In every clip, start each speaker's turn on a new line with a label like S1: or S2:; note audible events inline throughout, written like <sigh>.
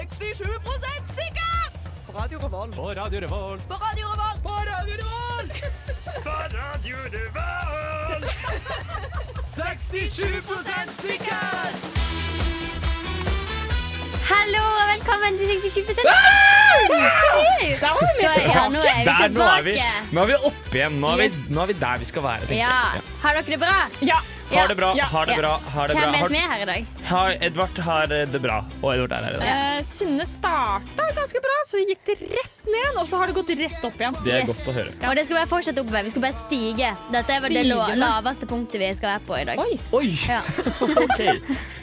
S1: 67 sikker! På Radio Revolt.
S2: På Radio Revolt.
S1: På Radio Revolt. På Radio Revolt!
S2: 67 sikker!
S3: Hallo og velkommen til 67
S2: Ah!
S3: Hei!
S1: Der var vi
S3: Da- Ja,
S1: med.
S3: nå er
S2: Der, nå
S3: vi
S2: er vi,
S3: tilbake.
S2: nå er vi oppe igjen. Nå er vi,
S3: Yes.
S2: nå er vi der vi skal være. tenker
S3: Ja.
S2: jeg.
S3: Har dere det bra?
S1: Ja.
S2: Ja. Har det bra,
S1: Ja.
S2: har det
S3: Ja.
S2: bra. Har det
S3: Hvem
S2: bra.
S3: er det
S2: Har,
S3: som er her i dag?
S2: har, Edvard har eh, det bra. Og Edvard er her i dag.
S1: Eh, Synne starta ganske bra, så gikk det rett ned, og så har det gått rett opp igjen.
S2: Det er godt å høre.
S3: Og det skal bare fortsette oppover. Vi skal bare stige. Dette er vel det lo-
S1: Stigende.
S3: laveste punktet vi skal være på i dag.
S1: Oi.
S2: Oi!
S3: Ja.
S2: <laughs> Ok. Eh,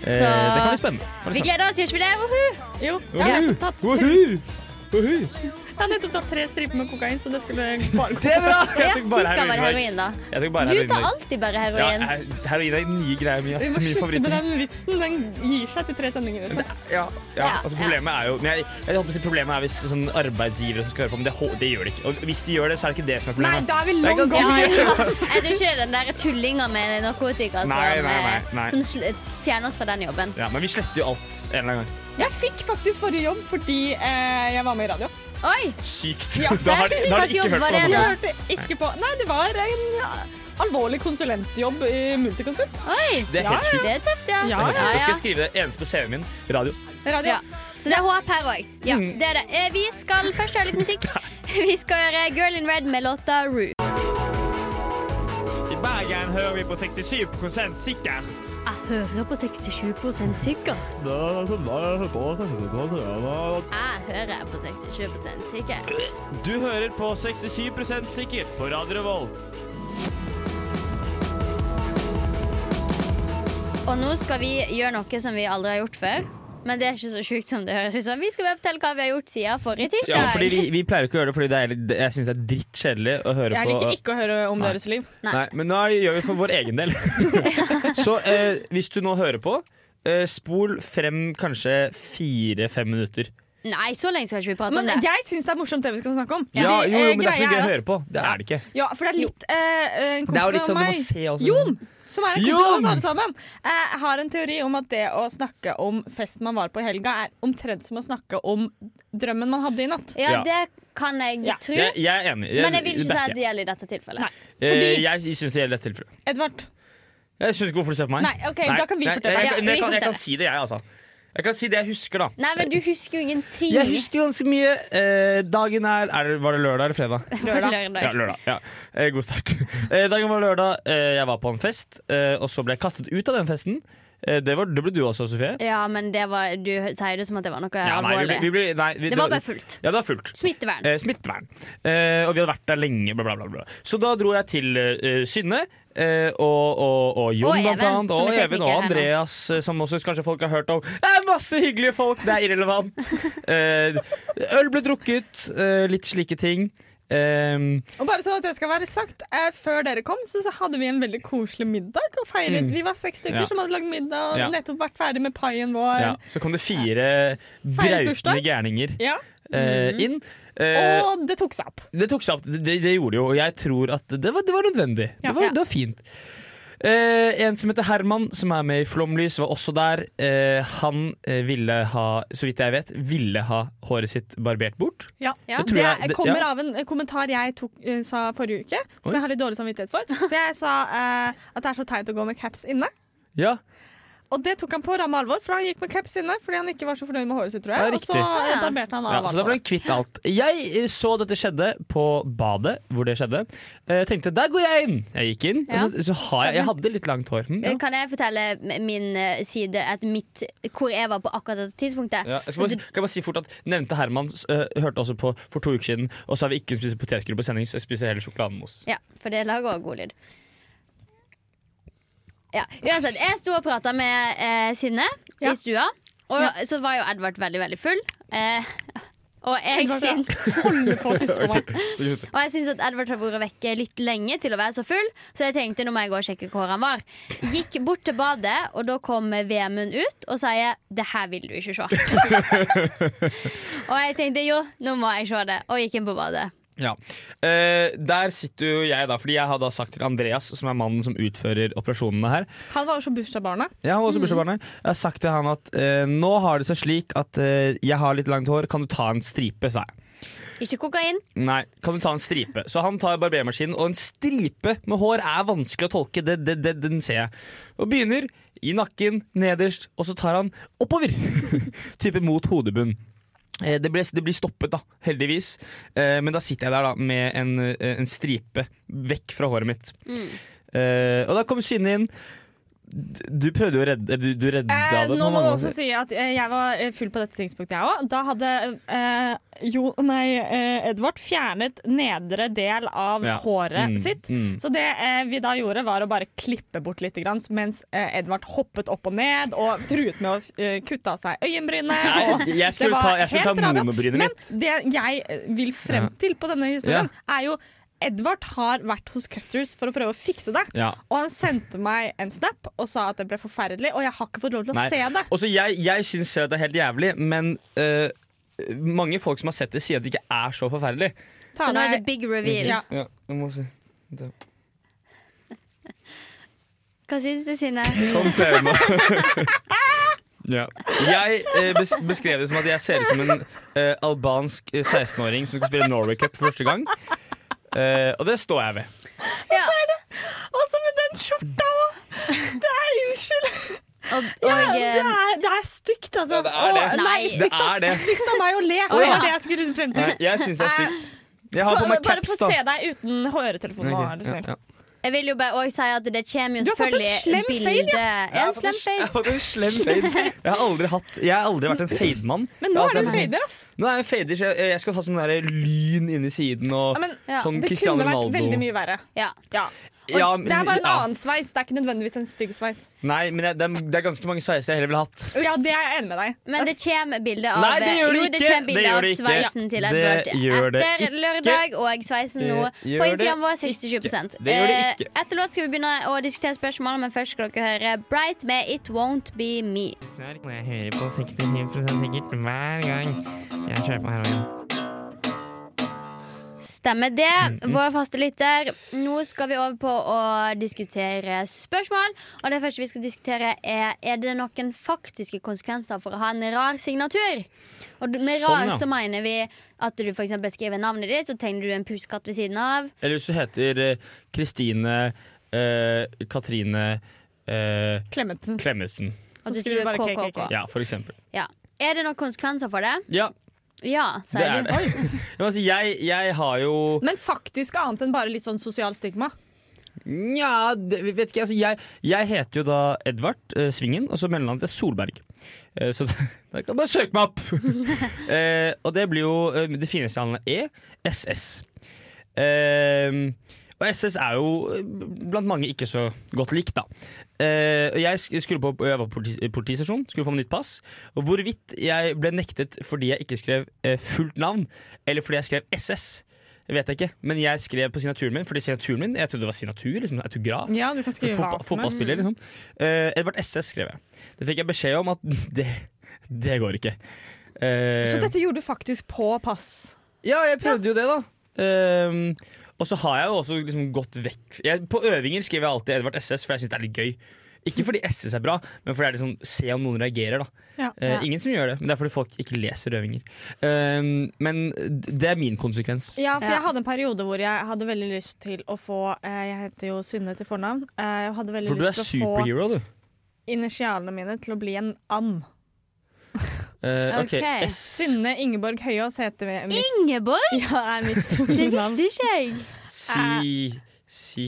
S2: det kan bli spennende. Det kan
S3: <laughs> Vi
S2: bli
S3: gleder oss, gjør ikke vi det? Woohoo!
S1: Jo. Jeg har
S2: spennende.
S1: nettopp tatt
S2: Woohoo!
S1: tre,
S2: Woohoo! Woohoo!
S1: jeg har nettopp tatt tre striper med kokain, så det skulle bare gå.
S2: Det er bra!
S3: Ja,
S2: Jeg tok bare
S3: sist gang var det
S2: heroin.
S3: heroin, da.
S2: Jeg tok bare
S3: Du
S2: heroin.
S3: tar alltid bare
S2: Ja,
S3: heroin.
S2: he- heroin er nye greier mi.
S1: Vi
S2: ass.
S1: må
S2: Min
S1: slutte
S2: favoritt.
S1: med den vitsen. Den gir seg etter tre sendinger. Liksom.
S2: Ja, ja.
S3: Ja,
S2: altså
S3: ja.
S2: problemet er jo men jeg, jeg håper å si Problemet er hvis sånn, arbeidsgivere som skal høre på, men det, hå- det gjør de ikke. Og hvis de gjør det, så er det ikke det som er
S1: Nei,
S2: problemet.
S1: da er vi
S2: Det er
S1: langt
S2: <laughs> ganske mye.
S3: Ja, ja. Jeg
S1: over.
S3: tror ikke det er den der tullinga med narkotika
S2: Nei,
S3: som,
S2: nei, nei,
S3: eh,
S2: nei.
S3: som sl- fjerner oss fra den jobben.
S2: Ja, men vi sletter jo alt en eller annen gang.
S1: Jeg fikk faktisk forrige jobb fordi eh, jeg var med i radio.
S3: Oi!
S2: Sykt!
S1: Ja,
S2: <laughs> da har de, da har
S3: seriøst
S2: de ikke
S3: jobb
S2: hørt
S3: var
S2: på
S3: det
S1: Jeg
S2: det.
S3: da.
S1: hørte ikke på Nei, det var en ja, alvorlig konsulentjobb i Multiconsult.
S3: Oi!
S2: Det er helt
S1: Ja,
S2: sjukt.
S3: Det er tøft, ja.
S2: Det er
S1: Ja,
S2: helt sjukt. Da skal jeg skrive det eneste på CV-en min. Radio.
S1: Radio.
S3: Ja. Så det er håp her òg. Ja,
S2: Mm.
S3: det er det. Eh, Vi skal først høre litt musikk. <laughs> Vi skal høre Girl in Red med låta Roo.
S2: I Bergen hører vi på 67 sikkert.
S3: Jeg hører på 67 sikkert. Jeg hører på 67 sikkert.
S2: Du hører på 67 sikkert på Radio Revolt.
S3: Og nå skal vi gjøre noe som vi aldri har gjort før. Men det er ikke så sjukt som det høres ut som. Vi skal bare fortelle hva vi har gjort siden forrige tirsdag.
S2: Ja, fordi vi, vi pleier ikke å gjøre det, fordi det er, litt- jeg syns det er drittkjedelig å høre
S1: Jeg
S2: på
S1: liker ikke å høre om
S2: Nei.
S1: deres liv.
S3: Nei.
S2: Nei. men nå er- gjør vi for vår egen del. så eh, hvis du nå hører på, eh, spol frem kanskje fire-fem minutter.
S3: Nei, så lenge skal ikke vi prate om
S1: Men eh,
S3: det.
S1: jeg syns det er morsomt, det vi skal snakke om.
S2: Ja, jo,
S1: Fordi,
S2: jo,
S1: eh,
S2: men det er ikke
S1: greia
S2: noe gøy å
S1: at-
S2: høre på. Det er det ikke.
S1: Ja, for det er litt eh, En
S2: Det er jo litt
S1: kompis av
S2: sånn du må
S1: meg,
S2: se også.
S1: Jon, som er en kompis av
S2: Jon!
S1: oss alle sammen, eh, har en teori om at det å snakke om festen man var på i helga, er omtrent som å snakke om drømmen man hadde i natt.
S3: Ja,
S2: Ja.
S3: det kan jeg
S1: Ja.
S3: tro.
S2: Jeg, jeg er enig.
S3: Men jeg vil ikke si at
S2: backer.
S3: det gjelder i dette tilfellet.
S1: Nei.
S2: Eh,
S1: Fordi-
S2: Jeg syns det gjelder dette tilfellet.
S1: Edvard,
S2: Jeg synes ikke hvorfor du ser på meg.
S1: Nei, ok, da kan vi
S2: Nei,
S1: fortelle.
S2: Jeg,
S3: Ja,
S2: jeg,
S3: vi
S2: jeg, kan, jeg
S3: forteller.
S2: kan si det, jeg, altså. Jeg kan si det jeg husker, da.
S3: Nei, men du husker jo ingenting.
S2: Jeg husker ganske mye. Eh, dagen er, er det, Var det lørdag eller fredag?
S1: <laughs> lørdag.
S2: Ja, lørdag. Ja. Eh, god start. <laughs> Eh, dagen var lørdag. Eh, jeg var på en fest, eh, og så ble jeg kastet ut av den festen. Eh, det, var, det ble du også, Sofie.
S3: Ja, men det var, du sier det som at det var noe
S2: Ja, nei, vi,
S3: alvorlig.
S2: ble- vi, ble- nei, vi,
S3: det var bare fullt.
S2: Ja, det var fullt.
S3: Smittevern.
S2: Eh, smittevern. Eh, og vi hadde vært der lenge, bla, bla, bla. bla. Så da dro jeg til eh, Synne. eh, og, og, og Jon,
S3: Og Even,
S2: blant annet.
S3: som
S2: Og
S3: er
S2: Even og
S3: tekniker her nå.
S2: Andreas, eh, som også kanskje folk har hørt om. Det er masse hyggelige folk! Det er
S3: <laughs>
S2: irrelevant. Eh, øl ble drukket, eh, litt slike ting. Eh,
S1: Og bare sånn at det skal være sagt, eh, Før dere kom, så, så hadde vi en veldig koselig middag. Og feiret. Vi var seks stykker
S2: Mm. Ja.
S1: som hadde lagd middag og
S2: Ja.
S1: nettopp vært ferdig med paien vår.
S2: ja. Så kom det fire brautende
S1: bursdag.
S2: gærninger
S1: Ja.
S3: Mm.
S2: eh, inn. Eh,
S1: Og det tok seg opp.
S2: Det tok seg opp, det, det gjorde det jo, og jeg tror at det var, det var nødvendig.
S1: Ja.
S2: Det, var, det var fint. Eh, en som heter Herman, som er med i Flomlys, var også der. Eh, han eh, ville ha, så vidt jeg vet, ville ha håret sitt barbert bort.
S3: Ja.
S2: Det
S1: Det
S2: tror jeg, det,
S1: kommer
S2: ja.
S1: av en kommentar jeg tok, eh, sa forrige uke, som
S2: Oi.
S1: jeg har litt dårlig samvittighet for. For jeg sa eh, at det er så teit å gå med caps inne.
S2: Ja,
S1: Og det tok han på ramme alvor, for han gikk med caps inne fordi han ikke var så fornøyd med håret sitt, tror
S2: Ja,
S1: jeg. og så
S2: riktig.
S1: eh, barberte han
S2: ja,
S1: av
S2: så da ble han kvitt alt. Jeg eh, så dette skjedde på badet, hvor det skjedde. Eh, tenkte der går jeg inn! Jeg gikk inn,
S3: Ja.
S2: og så, så har jeg, jeg hadde litt langt hår. Hm, ja.
S3: Kan jeg fortelle m- min eh, side at mitt, hvor jeg var på akkurat dette tidspunktet?
S2: Ja, jeg skal bare, si- kan jeg bare si fort at Nevnte Herman eh, hørte også på for to uker siden, og så har vi ikke spist potetgull på sending, så jeg spiser heller sjokolademos.
S3: Ja, for det lager også god lyd. Ja, uansett, jeg sto og prata med eh, Synne i
S1: Ja.
S3: stua, og
S1: Ja.
S3: så var jo Edvard veldig, veldig full. Eh, <laughs> og jeg
S1: Edvard, ja.
S3: syns
S1: Holde på å tisse på meg.
S3: Og jeg syns at Edvard har vært vekke litt lenge til å være så full, så jeg tenkte nå må jeg gå og sjekke hvor han var. Gikk bort til badet, og da kom Vemund ut og sier 'det her vil
S1: <laughs>
S3: du ikke se'. og jeg tenkte jo, nå må jeg se det, og gikk inn på badet.
S2: Ja. Eh, der sitter jo jeg, da, fordi jeg har da sagt til Andreas, som er mannen som utfører operasjonene her
S1: Han var jo så bursdagsbarnet.
S2: Jeg har også bursdagsbarnet. Jeg har sagt til han at eh, nå har det seg slik at eh, jeg har litt langt hår, kan du ta en stripe, sa jeg.
S3: Ikke kokain.
S2: Nei, kan du ta en stripe? Så han tar barbermaskinen, og en stripe med hår er vanskelig å tolke, det, det, det, den ser jeg. Og begynner i nakken, nederst, og så tar han oppover. <laughs> type mot hodebunn. Eh, Det, ble, det blir stoppet, da, heldigvis. Eh, men da sitter jeg der da med en, eh, en stripe vekk fra håret mitt.
S1: Mm.
S2: Eh, og da kom Synne inn. D- Du prøvde jo å redde Du, du redda
S1: Eh,
S2: det.
S1: nå må du
S2: mange
S1: også
S2: måter.
S1: si at eh, jeg var eh, full på dette tidspunktet, jeg òg. Da hadde eh, jo, nei, eh, Edvard fjernet nedre del av
S2: Ja.
S1: håret
S2: Mm,
S1: sitt.
S2: mm.
S1: Så det eh, vi da gjorde, var å bare klippe bort litt, grann, mens eh, Edvard hoppet opp og ned og truet med å eh, kutte av seg øyenbrynet. og-
S2: <laughs> Nei, jeg skulle
S1: Det var
S2: ta, jeg skulle
S1: helt
S2: ta
S1: rabiat.
S2: monobrynet
S1: Men
S2: mitt.
S1: det jeg eh, vil frem
S2: Ja.
S1: til på denne historien, er jo Edvard har vært hos Cutters for å prøve å fikse det.
S2: Ja.
S1: Og han sendte meg en snap og sa at det ble forferdelig, og jeg har ikke fått lov til å
S2: Nei.
S1: se det.
S2: Også jeg jeg syns selv at det er helt jævlig, men eh, mange folk som har sett det, sier at det ikke er så forferdelig.
S1: Ta Mhm.
S3: Så nå er det
S1: deg-
S3: big reveal.
S1: Ja.
S2: Ja, jeg må si.
S3: Hva syns du,
S1: <laughs>
S3: Synne?
S2: Sånn ser jeg meg. <laughs> Ja. Jeg eh, bes beskrev det som at jeg ser ut som en eh, albansk eh, 16-åring som skal spille Norway Cup for første gang. Eh, og det står jeg ved.
S3: Ja.
S1: Altså, med den skjorta òg! Det er unnskyld.
S3: Og,
S1: Ja,
S3: og,
S1: det,
S3: eh,
S1: er, det er stygt, altså.
S2: Ja, det er det.
S1: Å, nei,
S3: Nei.
S2: Det
S1: stygt, av,
S2: er det.
S1: stygt av meg å le.
S2: Å,
S1: Det
S2: ja.
S1: var det jeg skulle frem
S2: Nei,
S1: til.
S2: jeg syns det er stygt. Jeg har på meg
S1: Eh, bare få
S2: caps, da.
S1: se deg uten høretelefoner. nå, er du
S2: Ok,
S1: snill.
S2: ja, ja.
S3: jeg vil jo bare også si at det kommer jo
S1: Du har fått en
S3: selvfølgelig
S1: slem fade, ja.
S3: bilde
S2: Jeg
S3: Ja,
S2: har
S3: en
S2: fått
S3: slem
S2: Jeg
S3: fade.
S2: har fått en slem fade. Jeg har aldri, hatt, jeg har aldri vært en fademann.
S1: Men
S2: Jeg
S1: nå
S2: har
S1: er du
S2: alltid hatt en
S1: en
S2: sånn-
S1: fader, ass.
S2: Nå er jeg en fader, så jeg, jeg skal ha sånn der lyn inni siden og
S1: Ja, men,
S3: Ja,
S2: sånn
S1: det
S2: Cristiano
S1: kunne vært
S2: Ronaldo.
S1: veldig mye verre.
S3: Ja.
S1: Ja. Og
S2: Ja,
S1: det er bare en
S2: ja.
S1: annen sveis, det er ikke nødvendigvis en stygg sveis.
S2: Nei, men jeg, det, er, det er ganske mange sveiser jeg heller ville hatt.
S1: Ja, det er jeg enig med deg.
S3: Men det kommer bilde av
S2: Nei, det gjør det
S3: jo,
S2: ikke.
S3: kommer
S2: Det
S3: bilde
S2: gjør
S3: av
S2: det ikke.
S3: sveisen til
S2: Det
S3: Edward
S2: gjør det
S3: etter
S2: ikke.
S3: lørdag, og sveisen nå
S2: Det
S3: på
S2: gjør
S3: Instagram
S2: det
S3: var 67
S2: ikke. Det gjør det
S3: Eh,
S2: ikke.
S3: Etter låt skal vi begynne å diskutere spørsmål, men først skal dere høre Bright med It Won't Be Me.
S4: knark når jeg hører på 67 sikkert hver gang jeg kjører på heroin.
S3: Stemmer det,
S2: Mhm.
S3: vår faste lytter. Nå skal vi over på å diskutere spørsmål. Og det første vi skal diskutere, er er det noen faktiske konsekvenser for å ha en rar signatur. Og du- med
S2: Sånn,
S3: rar
S2: ja.
S3: så mener vi at du f.eks. skriver navnet ditt, så tegner du en pusekatt ved siden av.
S2: Eller hvis du heter eh, Kristine eh, Katrine eh,
S1: Klemetsen.
S2: Klemetsen.
S3: At
S1: Så
S3: du skriver
S1: skriver du bare KKK.
S3: KKK.
S2: Ja, for eksempel.
S3: Ja. Er det noen konsekvenser for det?
S2: Ja,
S3: Ja,
S2: det
S3: sier
S2: er
S3: du.
S2: det. Jeg, må si, jeg, jeg har jo
S1: Men faktisk annet enn bare litt sånn sosial stigma.
S2: Nja, det- vi vet ikke. Altså, jeg, jeg heter jo da Edvard eh, Svingen, og så mellomnavnet er Solberg. Eh, så <laughs> da, da kan du bare søke meg opp! eh, og det blir jo eh, Det fineste handlet er SS. Eh, og SS er jo eh, blant mange ikke så godt likt, da. Eh, og jeg sk- skulle på, jeg var på politi, politistasjonen, skulle få meg nytt pass. Og hvorvidt jeg ble nektet fordi jeg ikke skrev eh, fullt navn, eller fordi jeg skrev SS, vet jeg ikke. Men jeg skrev på signaturen min, fordi signaturen min, jeg trodde det var signatur, liksom autograf.
S1: Ja, du kan skrive hva
S2: Fotball,
S1: som helst.
S2: fotballspiller, liksom. Eh, Edvard SS skrev jeg. Det fikk jeg beskjed om at <laughs> det, det går ikke. Eh,
S1: Så dette gjorde du faktisk på pass.
S2: ja, jeg prøvde jo det, da. Ehm, og så har jeg jo også liksom gått vekk jeg, På øvinger skriver jeg alltid Edvard SS, for jeg syns det er litt gøy. Ikke fordi SS er bra, men fordi det er liksom, se om noen reagerer. da
S1: Ja.
S2: Eh,
S3: Ja.
S2: Ingen som gjør det, men det er fordi folk ikke leser øvinger. Ehm, men det er min konsekvens.
S1: Ja, for
S3: Ja.
S1: jeg hadde en periode hvor jeg hadde veldig lyst til å få eh, Jeg heter jo Synne til fornavn. eh, Jeg hadde veldig
S2: For du er
S1: lyst til å få
S2: superhero, du.
S1: initialene mine til å bli en and.
S2: Eh, ok,
S3: Ok.
S2: S
S1: Synne Ingeborg Høyås heter vi- mitt,
S3: Ingeborg!
S1: <laughs> ja, er mitt
S3: Det
S1: fulle navn.
S3: visste ikke jeg.
S2: Si Si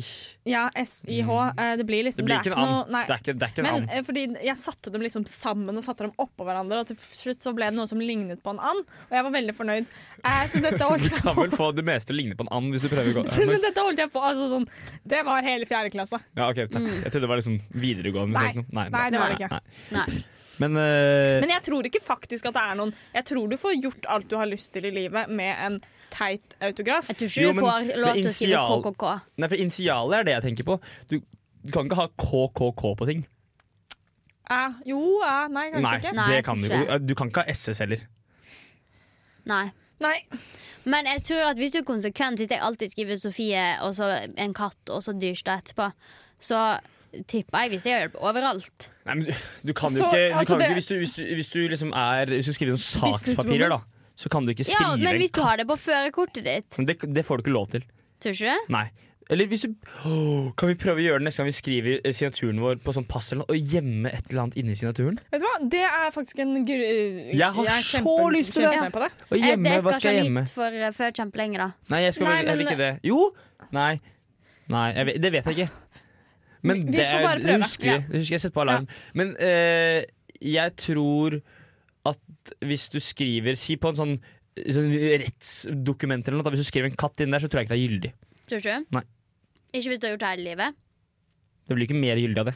S1: Ja, SIH. eh, Det blir liksom
S2: Det blir ikke
S1: er
S2: en and.
S1: noe- nei.
S2: Det er ikke, det er ikke en
S1: Men
S2: and.
S1: eh, fordi jeg satte dem liksom sammen og satte dem oppå hverandre, og til slutt så ble det noe som lignet på en and, og jeg var veldig fornøyd. Eh, så
S2: <laughs>
S1: dette holdt
S2: Du
S1: jeg
S2: kan
S1: på
S2: vel få det meste å ligne på en and hvis du prøver godt.
S1: <laughs> Så, men dette holdt jeg på altså sånn, Det var hele fjerde klasse.
S2: Ja, ok, takk. Jeg trodde det var liksom videregående.
S1: Mm. Nei.
S2: eller noe.
S1: Nei, det var det ikke.
S2: Nei.
S3: Nei.
S2: Men, eh,
S1: Men jeg tror ikke faktisk at det er noen Jeg tror du får gjort alt du har lyst til i livet med en teit autograf.
S3: Jeg tror
S2: Jo,
S3: ikke du
S2: men-
S3: får lov
S2: men
S3: til å skrive
S2: initial-
S3: KKK.
S2: Nei, for initialer er det jeg tenker på. Du, du kan ikke ha KKK på ting.
S1: Eh, jo, eh, nei, kanskje
S2: Nei,
S1: ikke.
S3: Nei,
S2: det kan du
S3: kanskje.
S2: ikke. Du kan ikke ha SS heller.
S3: Nei.
S1: Nei.
S3: Men jeg tror at hvis du er konsekvent, hvis jeg alltid skriver Sofie og så en katt og så dyrstad etterpå, så tipper jeg hvis jeg gjør det overalt.
S2: Nei, men du, du kan jo
S1: Så,
S2: ikke, du
S1: altså,
S2: kan jo
S1: det-
S2: ikke hvis, du, hvis, du, hvis du liksom er Hvis du skriver noen sakspapirer, da, så kan du ikke skrive
S3: Ja, men hvis du
S2: en
S3: har det på førerkortet ditt,
S2: katt. Det, det får du ikke lov til.
S3: tror ikke du?
S2: Nei. Eller hvis du Åh, Kan vi prøve å gjøre det neste gang vi skriver eh, signaturen vår på sånn pass eller noe, og gjemme et eller annet inni signaturen?
S1: Vet du hva, det er faktisk en gru...
S2: Jeg har så lyst til det.
S1: kjempe med på det.
S2: Og
S3: Eh,
S2: gjemme,
S3: det
S2: Hva
S3: skal
S2: skal
S3: ikke
S2: jeg
S3: ha
S2: gjemme?
S3: nytt for eh, før kjempelenge, da.
S2: Nei, jeg skal vel
S1: Nei,
S2: heller
S1: men- eh,
S2: ikke det. Jo! Nei. Nei jeg vet, det vet jeg ikke. Men
S1: Vi- vi
S2: det,
S1: får bare
S2: det
S1: prøve.
S2: husker vi. Det husker jeg setter på alarm. Men eh, jeg tror at hvis du skriver Si på en sånn, sånn rettsdokument eller noe, da, hvis du skriver en katt inn der, så tror jeg ikke det er gyldig.
S3: Tror ikke du?
S2: Nei.
S3: Ikke hvis du har gjort det hele livet.
S2: Det blir ikke mer gyldig av det.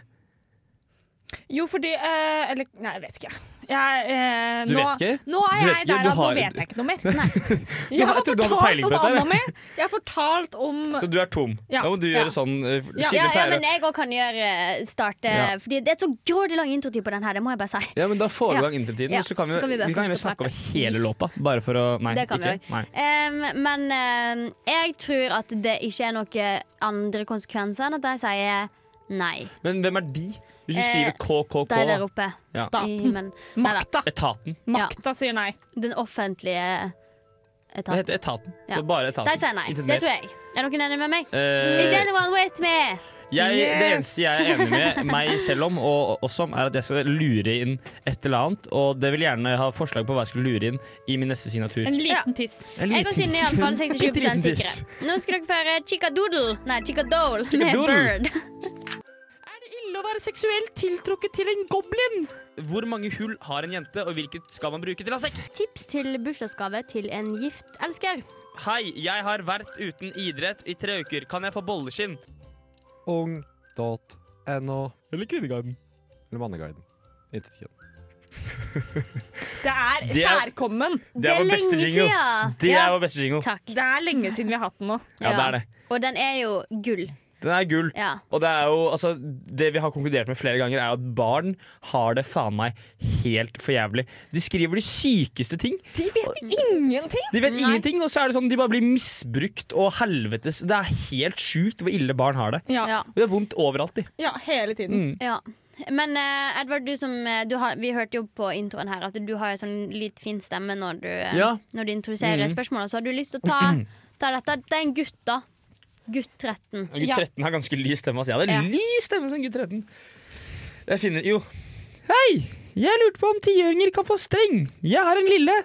S1: Jo, fordi eh, Eller nei, jeg vet ikke. Jeg, eh,
S2: Du
S1: nå,
S2: vet ikke?
S1: Nå er
S2: Du vet
S1: jeg
S2: ikke,
S1: der
S2: du
S1: at
S2: har-
S1: nå vet jeg ikke noe
S2: <laughs>
S1: mer. Nei. Jeg har
S2: jeg trodde du hadde
S1: fortalt
S2: peiling på
S1: om
S2: dette,
S1: Anna mi. Jeg har fortalt om
S2: Så du er tom.
S1: Ja.
S2: Da må du
S3: Ja.
S2: gjøre sånn. eh, f-
S1: Ja.
S2: Sigrid
S3: Ja, ja,
S2: pleier å-
S3: men jeg òg kan gjøre eh, starte
S2: Ja.
S3: Fordi det er så grådig lang introtid på den her, det må jeg bare si.
S2: Ja, men da får vi
S3: Ja.
S2: i gang intertiden,
S3: Ja,
S2: og så kan vi,
S3: så kan vi bare
S2: vi kan
S3: forske
S2: heller
S3: på
S2: snakke over
S3: dette.
S2: hele låta. Bare for å Nei.
S3: Det kan vi
S2: ikke. Nei.
S3: Em, men em, jeg tror at det ikke er noen andre konsekvenser enn at jeg sier nei.
S2: Men hvem er de? Hvis du
S3: Eh,
S2: skriver KKK,
S3: De der
S2: da.
S3: oppe.
S2: Ja.
S1: Staten.
S3: I- Men, nei da.
S1: makta.
S2: Etaten.
S1: Makta sier nei.
S3: Den offentlige
S2: Det
S3: etaten.
S2: heter Etaten.
S3: Ja.
S2: Det er bare Etaten.
S3: De sier nei.
S2: Ikke
S3: Det
S2: mer.
S3: tror jeg. Er noen enig med meg? Is
S2: Eh,
S3: anyone with me?
S2: jeg, det
S1: Yes!
S2: eneste jeg er enig
S3: <laughs>
S2: med meg selv om, og oss om, er at jeg skal lure inn et eller annet. Og det vil gjerne ha forslag på hva jeg skal lure inn i min neste signatur.
S1: En liten tiss.
S2: En
S3: Jeg og Synne
S2: <laughs>
S3: er iallfall
S2: Bitte
S3: 67
S2: liten
S3: sikre.
S2: tiss.
S3: Nå skal dere føre Chica Doodle, nei Chica Dole med
S2: Doodle.
S3: Bird.
S1: Er det ille å være seksuelt tiltrukket til en goblin?
S2: Hvor mange hull har en jente, og hvilket skal man bruke til å ha sex?
S3: Tips til bursdagsgave til en gift elsker.
S2: Hei, jeg har vært uten idrett i tre uker. Kan jeg få bolleskinn?
S5: ung.no
S2: Eller Kvinneguiden.
S5: eller Manneguiden. Intet kjønn.
S1: Det er
S2: Det er-
S1: kjærkommen.
S2: Det er vår beste jingle.
S3: siden.
S2: Det
S3: Ja.
S2: er vår beste jingle.
S3: Takk.
S1: Det er lenge siden vi har hatt den nå.
S2: Ja, det er det.
S3: Og den er jo gull.
S2: Den er gull.
S3: Ja.
S2: Og det er jo, altså, det vi har konkludert med flere ganger, er at barn har det faen meg helt for jævlig. De skriver de sykeste ting.
S1: De vet ingenting!
S2: De vet
S3: Nei.
S2: ingenting, og så er det sånn de bare blir misbrukt og helvetes. Det er helt sjukt hvor ille barn har det.
S1: Ja,
S3: Ja.
S2: Og Det er vondt overalt, de.
S1: ja hele tiden.
S2: Mm.
S3: ja. Men eh, Edvard, du som, eh, du har, vi hørte jo på introen her at du har en sånn litt fin stemme når du, eh,
S2: Ja. Mhm.
S3: når du introduserer spørsmålet. Så har du lyst til å
S2: <clears throat>
S3: ta, ta dette. Det er en gutt, da. Gutt 13.
S2: Og Gutt
S1: Ja.
S2: 13 har ganske lys stemme. Altså. Jeg hadde
S3: Ja.
S2: lys stemme som gutt 13. Jeg finner Jo. Hei! Jeg lurte på om tiåringer kan få streng. Jeg har en lille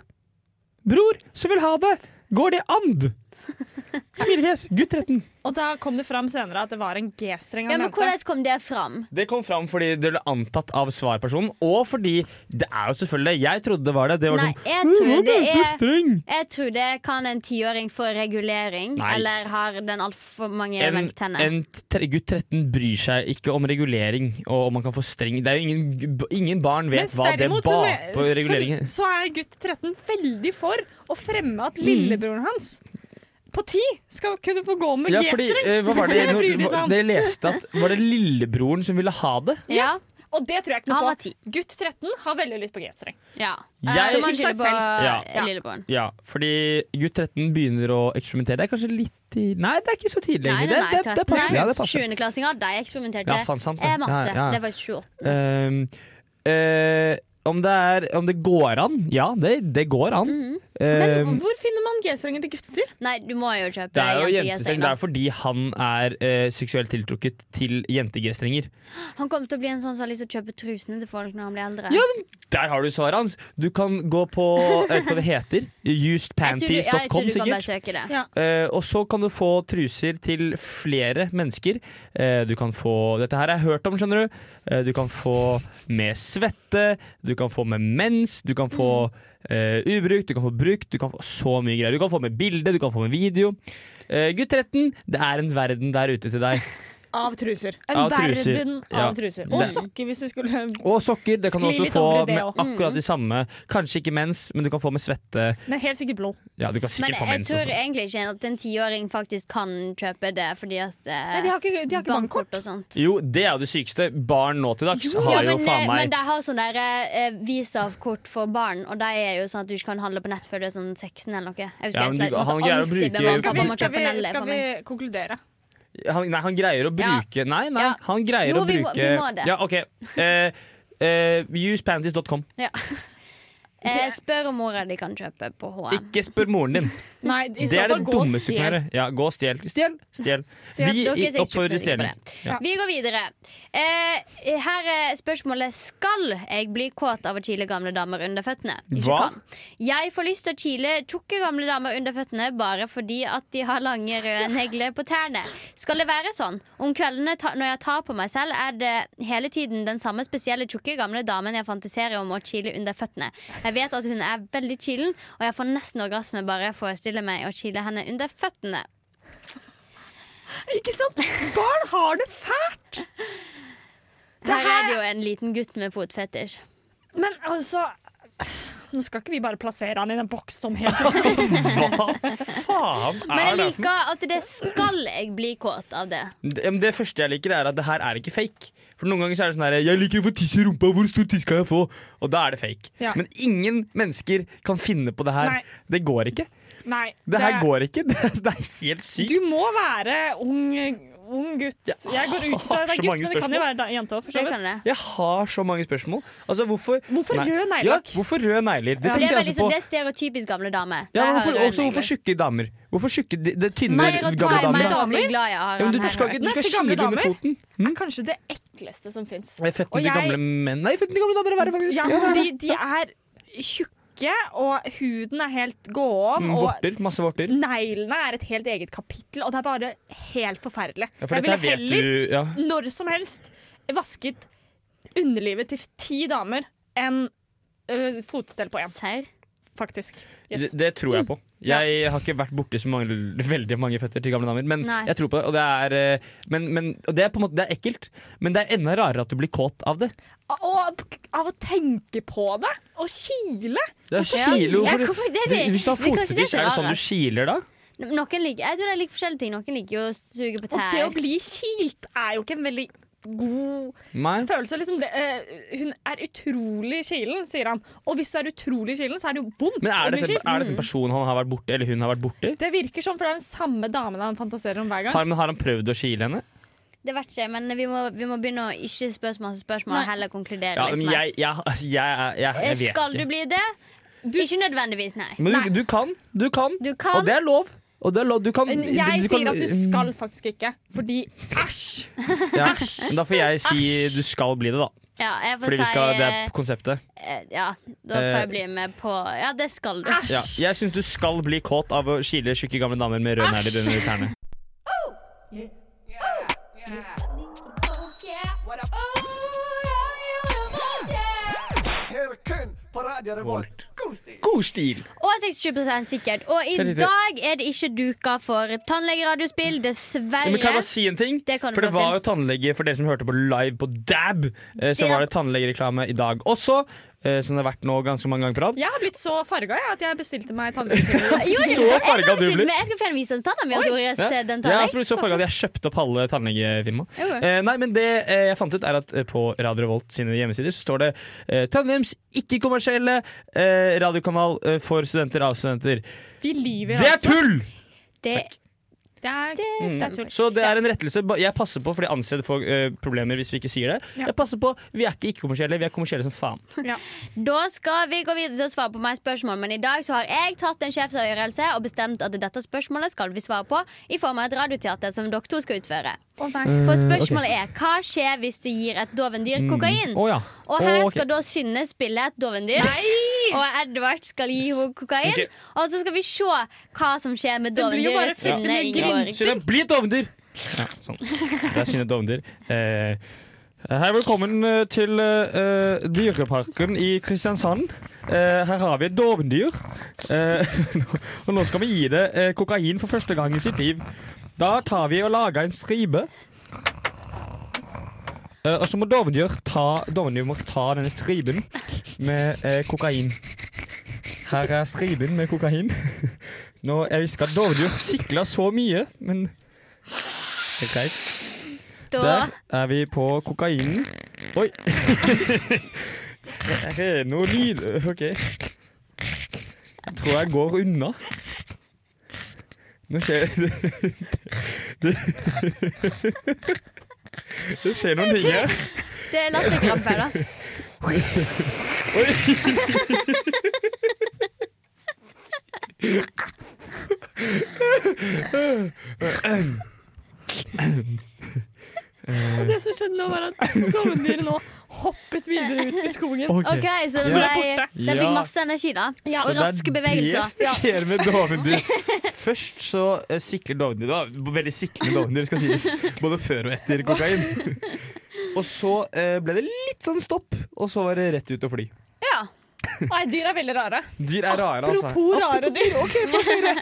S2: bror som vil ha det. Går det and? Smilefjes. Gutt 13.
S1: Og da kom det fram senere at det var en G-streng
S3: Ja,
S1: han
S3: men
S1: mente.
S3: hvordan kom det fram?
S2: Det kom fram fordi det ble antatt av svarpersonen, og fordi det er jo selvfølgelig det. Jeg trodde det var det. Det var
S3: Nei,
S2: sånn
S3: jeg
S2: «Hva
S3: tror
S2: med
S3: det
S2: en som
S3: er
S2: streng?
S3: Jeg tror det kan en tiåring få regulering,
S2: Nei.
S3: eller har den altfor mange
S2: En,
S3: velktenner.
S2: en tre, gutt 13 bryr seg ikke om regulering og om man kan få streng Det er jo ingen, ingen barn vet
S1: Mens
S2: hva det
S1: derimot så,
S2: bakpå reguleringen
S1: så, så er gutt 13 veldig for å fremme
S2: Mm.
S1: at lillebroren hans på ti skal kunne få gå med
S2: Ja, fordi,
S1: G-streng.
S2: eh, hva var det,
S1: Det bryr de
S2: når,
S1: seg om.
S2: det jeg leste at Var det lillebroren som ville ha det?
S3: Ja,
S1: Og det tror jeg ikke
S3: han
S1: noe
S3: var
S1: på.
S3: ti.
S1: Gutt 13 har veldig lyst på G-streng.
S3: Ja. Eh,
S2: Jeg-
S3: Så man skylder på
S2: Ja.
S3: eh, lillebroren.
S2: Ja, fordi gutt 13 begynner å eksperimentere. Det er kanskje litt tidlig Nei, det er ikke så tidlig
S3: Nei,
S2: lenger.
S3: nei, nei,
S2: Det, det, det passer. Ja, det passer.
S3: Sjuendeklassinger, de eksperimenterte.
S2: Ja, faen sant. det.
S3: Eh,
S2: Ja,
S3: masse.
S2: ja.
S3: Det var 28.
S2: Ehm, eh, om, det er, om det går an? Ja, det, det går an. Ehm,
S1: Men hvor finner man G-strenger til gutter?
S3: Nei, du må jo kjøpe
S2: det er jo
S3: jente-G-streng.
S2: jentestreng. Det
S3: da.
S2: er fordi han er eh, seksuelt tiltrukket til jente-G-strenger.
S3: Han kommer til å bli en sånn som har lyst til å kjøpe trusene til folk når han blir eldre.
S2: Ja, Der har du svaret hans! Du kan gå på Jeg vet ikke hva det heter.
S3: jeg tror du, ja, jeg tror
S2: Usedpanties.com,
S3: du kan
S2: sikkert.
S3: bare søke det.
S1: Ja.
S2: Eh, og så kan du få truser til flere mennesker. Eh, du kan få Dette her har jeg hørt om, skjønner du. Eh, du kan få med svette, du kan få med mens, du kan få eh, ubrukt, du kan få brukt, du kan få så mye greier. Du kan få med bilde, du kan få med video. Eh, gutt 13, det er en verden der ute til deg.
S1: av truser. En
S2: Av truser,
S1: verden
S2: ja.
S1: av truser. Og
S2: Det-
S1: sokker, hvis du skulle
S2: Og sokker. Det kan du
S1: Skli
S2: også
S1: litt
S2: få
S1: over i det
S2: med
S1: også.
S2: akkurat de samme. Kanskje ikke mens, men du kan få med svette.
S1: Men helt sikkert blå.
S2: Ja, du kan
S3: Men
S2: sikkert få
S3: jeg
S2: mens
S3: tror
S2: også.
S3: egentlig ikke at en tiåring faktisk kan kjøpe det, fordi at eh,
S1: Nei, de har ikke, de har ikke bankkort.
S3: bankkort og sånt.
S2: Jo, det er jo det sykeste. Barn nå til dags har
S3: Ja,
S2: jo
S3: men, eh,
S2: faen
S3: men
S2: meg
S3: de har sånn der eh, Visa-kort for barn, og de er jo sånn at du ikke kan handle på nett før du er sånn 16 eller noe. Jeg husker
S2: Ja, men
S3: jeg
S2: du-
S3: måtte
S2: han greier å
S3: alltid be
S2: bruke-
S3: mamma og
S1: Skal
S3: pappa
S1: vi,
S3: om å
S1: skal
S3: kjøpe
S1: vi,
S3: en L
S1: skal
S3: for
S1: vi
S3: meg.
S1: konkludere?
S2: han, Nei, han greier å
S3: Ja.
S2: bruke Nei, nei,
S3: Ja.
S2: han greier
S3: Jo,
S2: å
S3: vi
S2: bruke
S3: må- vi må det.
S2: Ja, OK. Eh, eh, Usepanties.com.
S3: Eh, spør om mora di kan kjøpe på HM.
S2: Ikke spør moren
S3: <laughs>
S2: din.
S1: Nei, i
S2: Det
S1: så
S2: er det
S1: fall gå og
S2: dummeste du kan
S1: stjel.
S2: gjøre. Ja, gå og stjel. Stjel! Stjel.
S1: Stjel.
S2: Vi
S3: Dere ser
S2: oppfordrer
S3: ikke på
S2: stjeling.
S3: det.
S2: Ja.
S3: Vi går videre. Eh, her er spørsmålet Skal jeg bli kåt av å kile gamle damer under føttene? Ikke
S2: Hva?
S3: kan. Jeg får lyst til å kile tjukke gamle damer under føttene bare fordi at de har lange røde negler på tærne. Skal det være sånn? Om kveldene ta, når jeg tar på meg selv, er det hele tiden den samme spesielle tjukke gamle damen jeg fantiserer om å kile under føttene. Jeg vet at hun er veldig kilen, og jeg får nesten orgasme bare jeg forestiller meg å kile henne under føttene.
S1: Ikke sant? Barn har det fælt! Det
S3: Her er
S1: her-
S3: det jo en liten gutt med fotfetisj.
S1: Men altså Nå skal ikke vi bare plassere han i den boksen sånn helt
S2: <laughs> Hva faen
S3: Men
S2: er
S3: jeg
S2: det?
S3: liker at det skal jeg bli kåt av det.
S2: Det, men det første jeg liker, er at det her er ikke fake. For Noen ganger så er det sånn her Jeg liker å få tiss i rumpa, hvor stor tiss kan jeg få? Og da er det fake.
S1: Ja.
S2: Men ingen mennesker kan finne på det her.
S1: Nei.
S2: Det går ikke.
S1: Nei.
S2: Det her går ikke. <laughs> Det, er- det er helt sykt.
S1: Du må være ung, ung gutt. Jeg går
S2: <laughs>
S1: ut fra
S2: så
S1: det er
S2: mange
S1: gutt, men det kan jo
S2: spørsmål.
S1: være da- jente òg, for så
S3: Det kan
S1: vidt.
S3: det.
S2: Jeg har så mange spørsmål. Altså, hvorfor
S1: Hvorfor
S2: Nei.
S1: rød
S2: Ja,
S1: neglelakk?
S2: hvorfor røde negler? Det
S1: Ja.
S3: Det
S2: tenker
S3: er,
S2: jeg
S3: veldig,
S2: også altså
S3: sånn-
S2: på.
S3: det er stereotypisk gamle damer.
S2: Ja, men
S3: Jeg har
S2: hvorfor,
S3: røde
S2: også hvorfor
S3: negler.
S2: tjukke damer? Hvorfor tjukke Det, det er tynne
S3: Mer å ta
S2: gamle
S3: i meg,
S2: damer.
S3: da blir jeg glad jeg har
S2: Ja, men du,
S3: han
S2: du skal,
S3: her.
S2: ikke- du skal
S1: Nette
S2: kile det
S1: gamle
S2: under
S1: damer.
S2: foten.
S1: er kanskje det ekleste som fins.
S2: Nei, Føttene
S1: Og
S2: til
S1: jeg-
S2: gamle menn Nei, føttene til gamle damer er verre, faktisk.
S1: Ja, fordi de er tjukke, og huden er helt gåen,
S2: Mm,
S1: og
S2: Vorter. Masse vorter.
S1: neglene er et helt eget kapittel, og det er bare helt forferdelig.
S2: Ja, for
S1: Jeg
S2: dette her
S1: ville
S2: vet
S1: heller,
S2: du ja.
S1: når som helst, vasket underlivet til ti damer enn øh, fotstell på én,
S3: Serr?
S1: faktisk.
S2: Det,
S1: Yes.
S2: det tror
S3: Mm.
S2: jeg på. Jeg har ikke vært borti så mange, veldig mange føtter til gamle damer, men
S3: Nei.
S2: jeg tror på det. Og det er, eh, men, men, og det er på en måte det er ekkelt, men det er enda rarere at du blir kåt av det.
S1: Og av å tenke på det, og kile.
S2: Det er
S3: Ja.
S2: kilo,
S3: Ja,
S2: for-
S3: hvorfor- det er
S2: du,
S3: det-
S2: hvis du har
S3: det er kanskje det
S2: fotfetisj,
S3: som
S2: er det
S3: er
S2: sånn
S3: rart.
S2: du kiler da?
S3: Noen liker, jeg tror jeg liker forskjellige ting. Noen liker jo å suge på
S1: Og det å
S3: tær.
S1: bli kilt er jo ikke en veldig god
S2: Nei.
S1: følelse. Liksom det, eh, hun er utrolig kilen, sier han. Og hvis du er utrolig kilen, så er det jo vondt
S2: Men
S1: å
S2: er
S1: bli
S2: dette,
S1: kilt.
S2: er dette en person han har vært borti, eller hun har vært borti?
S1: Det virker sånn, for det er den samme damen han fantaserer om hver gang.
S2: Har, men har han prøvd å kile henne?
S3: Det vet ikke, men vi må, vi må begynne å ikke spørre så masse spørsmål,
S1: Nei.
S3: heller konkludere
S2: Ja,
S3: litt
S2: men
S3: mer. Eh,
S2: jeg, jeg, <laughs> altså, jeg, er- jeg, jeg vet
S3: Skal du
S2: ikke.
S3: bli det?
S1: Du
S3: Ikke nødvendigvis, nei.
S2: Men
S1: Nei.
S2: du, du kan. Du kan.
S3: Du kan.
S2: Og det er lov. Og det er lov. Du kan,
S1: Men
S2: du-
S1: jeg
S2: du kan-
S1: sier at du skal faktisk ikke, fordi æsj!
S2: ja. Men Da får jeg si du skal bli det, da.
S3: Ja, jeg får
S2: Fordi vi
S3: si
S2: skal, det
S3: eh,
S2: er konseptet.
S3: eh, Ja, da får jeg
S2: Eh, Ah,
S3: bli med på Ja, det skal du.
S1: Æsj!
S2: Ja, jeg syns du skal bli kåt av å kile tjukke gamle damer med røde negler under tærne.
S6: Her kun på Radio Revolt. God stil!
S2: God stil!
S3: Og 67 sikkert. Og i
S2: Helt riktig.
S3: dag er det ikke duka for tannlegeradiospill, dessverre.
S2: Men kan jeg bare si en ting?
S3: Det kan du
S2: for det
S3: få
S2: var jo
S3: til.
S2: tannlege for dere som hørte på live på DAB, eh, så
S3: Dab.
S2: var det tannlegereklame i dag også. eh, Som det har vært nå ganske mange ganger på rad.
S1: Jeg har blitt så farga at jeg bestilte meg <laughs> tannlegekirurgi.
S3: Jo,
S2: Så farga
S3: jeg,
S2: du
S3: sitter
S2: blir.
S3: med, jeg skal fjerne visdomstanna mi hos Ores
S2: Ja.
S3: den
S2: Jeg har
S3: tar
S2: også blitt så farga at jeg kjøpte opp halve tannlegefirmaet.
S3: Jo.
S2: Eh, nei, men det eh, jeg fant ut, er at eh, på Radio Revolt sine hjemmesider så står det eh, Trondheims ikke-kommersielle eh, radiokanal eh, for studenter av studenter.
S1: Vi lyver,
S2: Det er
S1: altså.
S2: tull!
S3: Det,
S1: Det er, Mm. det
S3: det
S1: er
S3: stemmer.
S1: tull.
S2: Så det er en rettelse. Ba- Jeg passer på, fordi ansatte får eh, problemer hvis vi ikke sier det.
S1: Ja.
S2: Jeg passer på, Vi er ikke ikke-kommersielle, vi er kommersielle som faen.
S3: Da skal vi gå videre til å svare på meg spørsmål, men i dag så har jeg tatt en sjefsavgjørelse og bestemt at dette spørsmålet skal vi svare på i form av et radioteater som dere to skal utføre.
S1: Å nei.
S3: For
S2: Mm,
S3: spørsmålet er hva skjer hvis du gir et dovendyr kokain?
S2: Å, ja.
S3: Og her
S2: Å, ok.
S3: skal da Synne spille et dovendyr. Og Edvard skal gi henne kokain.
S2: Ok.
S3: Og så skal vi se hva som skjer med
S1: Det blir jo
S3: dovendyret
S1: bare
S3: Synne
S1: fryktelig mye
S3: inngår.
S1: gryn.
S2: Synne, bli et dovendyr! Ja, sånn. Det er Synne et dovendyr. Eh, Hei, velkommen eh, til eh, Dyreparken i Kristiansand. Eh, her har vi et dovendyr. Eh, <laughs> og nå skal vi gi det eh, kokain for første gang i sitt liv. Da tar vi og lager en stripe. Eh, og så må dovendyr ta, dovendyr må ta denne striben med eh, kokain. Her er striben med kokain. Nå, Jeg visste ikke at dovendyr sikla så mye, men det er greit.
S3: Da
S2: Der er vi på kokainen. Oi. <laughs> Det er noe lyd OK. Jeg tror jeg går unna. Nå skjer <laughs> det Det, det skjer noen ting her.
S3: Det er latterkrampe,
S2: <laughs>
S3: da.
S1: Og det som skjedde nå, var at dovendyret nå hoppet videre ut i skogen.
S3: OK, så den,
S2: Ja.
S3: ble, den fikk
S2: Ja.
S3: masse energi, da.
S2: Så
S3: Og raske bevegelser.
S2: Det er det som skjer med
S1: <laughs>
S2: dovendyr. Først så eh, sikler dovendyr Det var veldig sikle dovendyr, skal sies. Både før og etter
S1: <laughs>
S2: kokain. Og så eh, ble det litt sånn stopp, og så var det rett ut og fly.
S3: Ja.
S1: Nei, dyr er veldig rare.
S2: Dyr er rare, altså.
S1: Apropos rare dyr. <laughs> Ok, folk hører.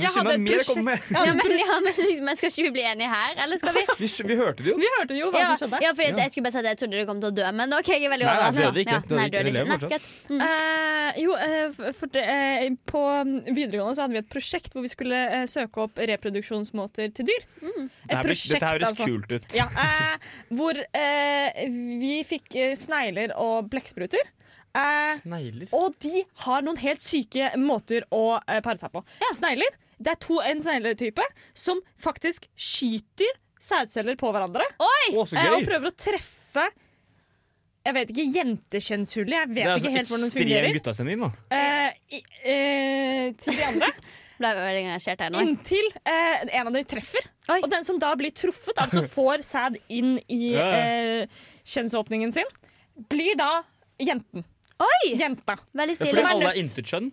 S2: Jeg
S1: hadde et
S2: mer å komme med.
S1: Jeg
S3: Ja,
S1: hadde
S3: men,
S1: et
S3: ja, men, liksom, men skal ikke vi bli enige her, eller skal vi?
S1: <laughs>
S2: Vi, s- vi hørte det jo.
S1: Vi hørte jo hva
S3: Ja,
S1: som skjedde.
S3: ja, fordi at jeg skulle bare si at jeg trodde du kom til å dø, men OK, jeg er veldig
S2: Nei, nei,
S3: overrasket.
S2: det er det ikke.
S3: Ja,
S2: Det er
S3: nei,
S2: ikke-
S3: døde
S2: det lever
S3: ikke. Nei,
S2: fortsatt.
S3: greit.
S1: Eh, jo, eh, f- for det, eh, på mm, videregående så hadde vi et prosjekt hvor vi skulle eh, søke opp reproduksjonsmåter til dyr. Et prosjekt, altså.
S2: kult ut.
S1: Ja, eh, hvor eh, vi fikk eh, snegler og blekkspruter. Eh,
S2: Snegler.
S1: og de har noen helt syke måter å eh, pare seg på. Snegler. Det er to, en snegletype som faktisk skyter sædceller på hverandre.
S2: Å, så
S1: Eh, og
S2: gøy.
S1: prøver å treffe Jeg vet ikke, jentekjønnshullet. Jeg vet
S2: Det er
S1: ikke
S2: sånn
S1: helt hvordan det
S2: ekstrem
S1: fungerer.
S2: guttastemning, da.
S1: Eh, i, eh, til de
S3: <laughs>
S1: andre.
S3: Ble jeg veldig engasjert her nå.
S1: Inntil eh, en av de treffer.
S3: Oi.
S1: Og den som da blir truffet, altså
S2: <laughs>
S1: får sæd inn i
S2: Ja,
S1: eh, kjønnsåpningen sin, blir da jenten.
S3: Oi!
S1: Jenta.
S3: Veldig
S2: Fordi
S3: stilig.
S2: alle er intetkjønn.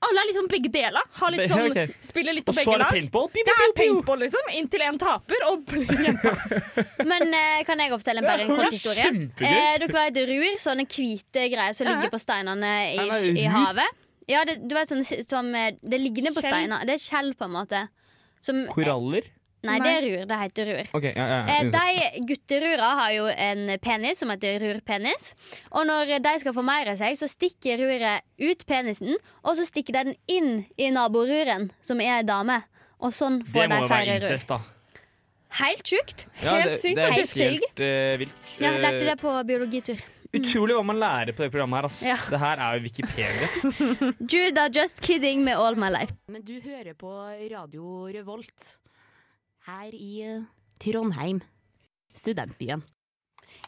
S1: Alle er liksom begge deler. Har
S2: <laughs>
S1: litt
S2: Be-
S1: sånn,
S2: ok.
S1: Spiller litt på
S2: Og så
S1: begge
S2: er det
S1: lag.
S2: paintball. Piu,
S1: Det
S2: piu,
S1: er
S2: piu, piu.
S1: paintball, liksom. Inntil en taper og
S2: <laughs>
S1: blir jenta.
S3: Men eh, kan jeg fortelle en bare en
S2: Ja,
S3: kort historie?
S2: kjempegøy.
S3: Eh, dere vet ruer, sånne hvite greier som ligger på steinene i,
S2: Nei, nei,
S3: i
S2: rur?
S3: havet? Ja, det, du vet sånn som eh, Det ligger ned på
S1: Skjell.
S3: steiner. Det er skjell, på en måte. Som
S2: Koraller.
S3: Nei, det er rur. Det heter rur.
S2: Ok, ja, ja,
S3: Eh,
S2: ja.
S3: de gutterura har jo en penis som heter rurpenis. Og når de skal formere seg, så stikker ruret ut penisen, og så stikker de den inn i naboruren, som er ei dame. Og sånn
S2: Det
S3: får de
S2: må jo være
S3: flere rur.
S2: incest, da.
S3: Helt sjukt.
S1: Helt sykt,
S2: det er
S3: faktisk.
S2: helt eh, vilt.
S3: Ja, lærte
S2: Eh,
S3: det på biologitur.
S2: Utrolig hva man lærer på det programmet her. ass.
S3: Ja.
S2: Det her er jo
S3: <laughs>
S2: Wikipedia.
S3: Juda, just kidding med all my life.
S7: <laughs> Men du hører på Radio Revolt her i eh, Trondheim, studentbyen.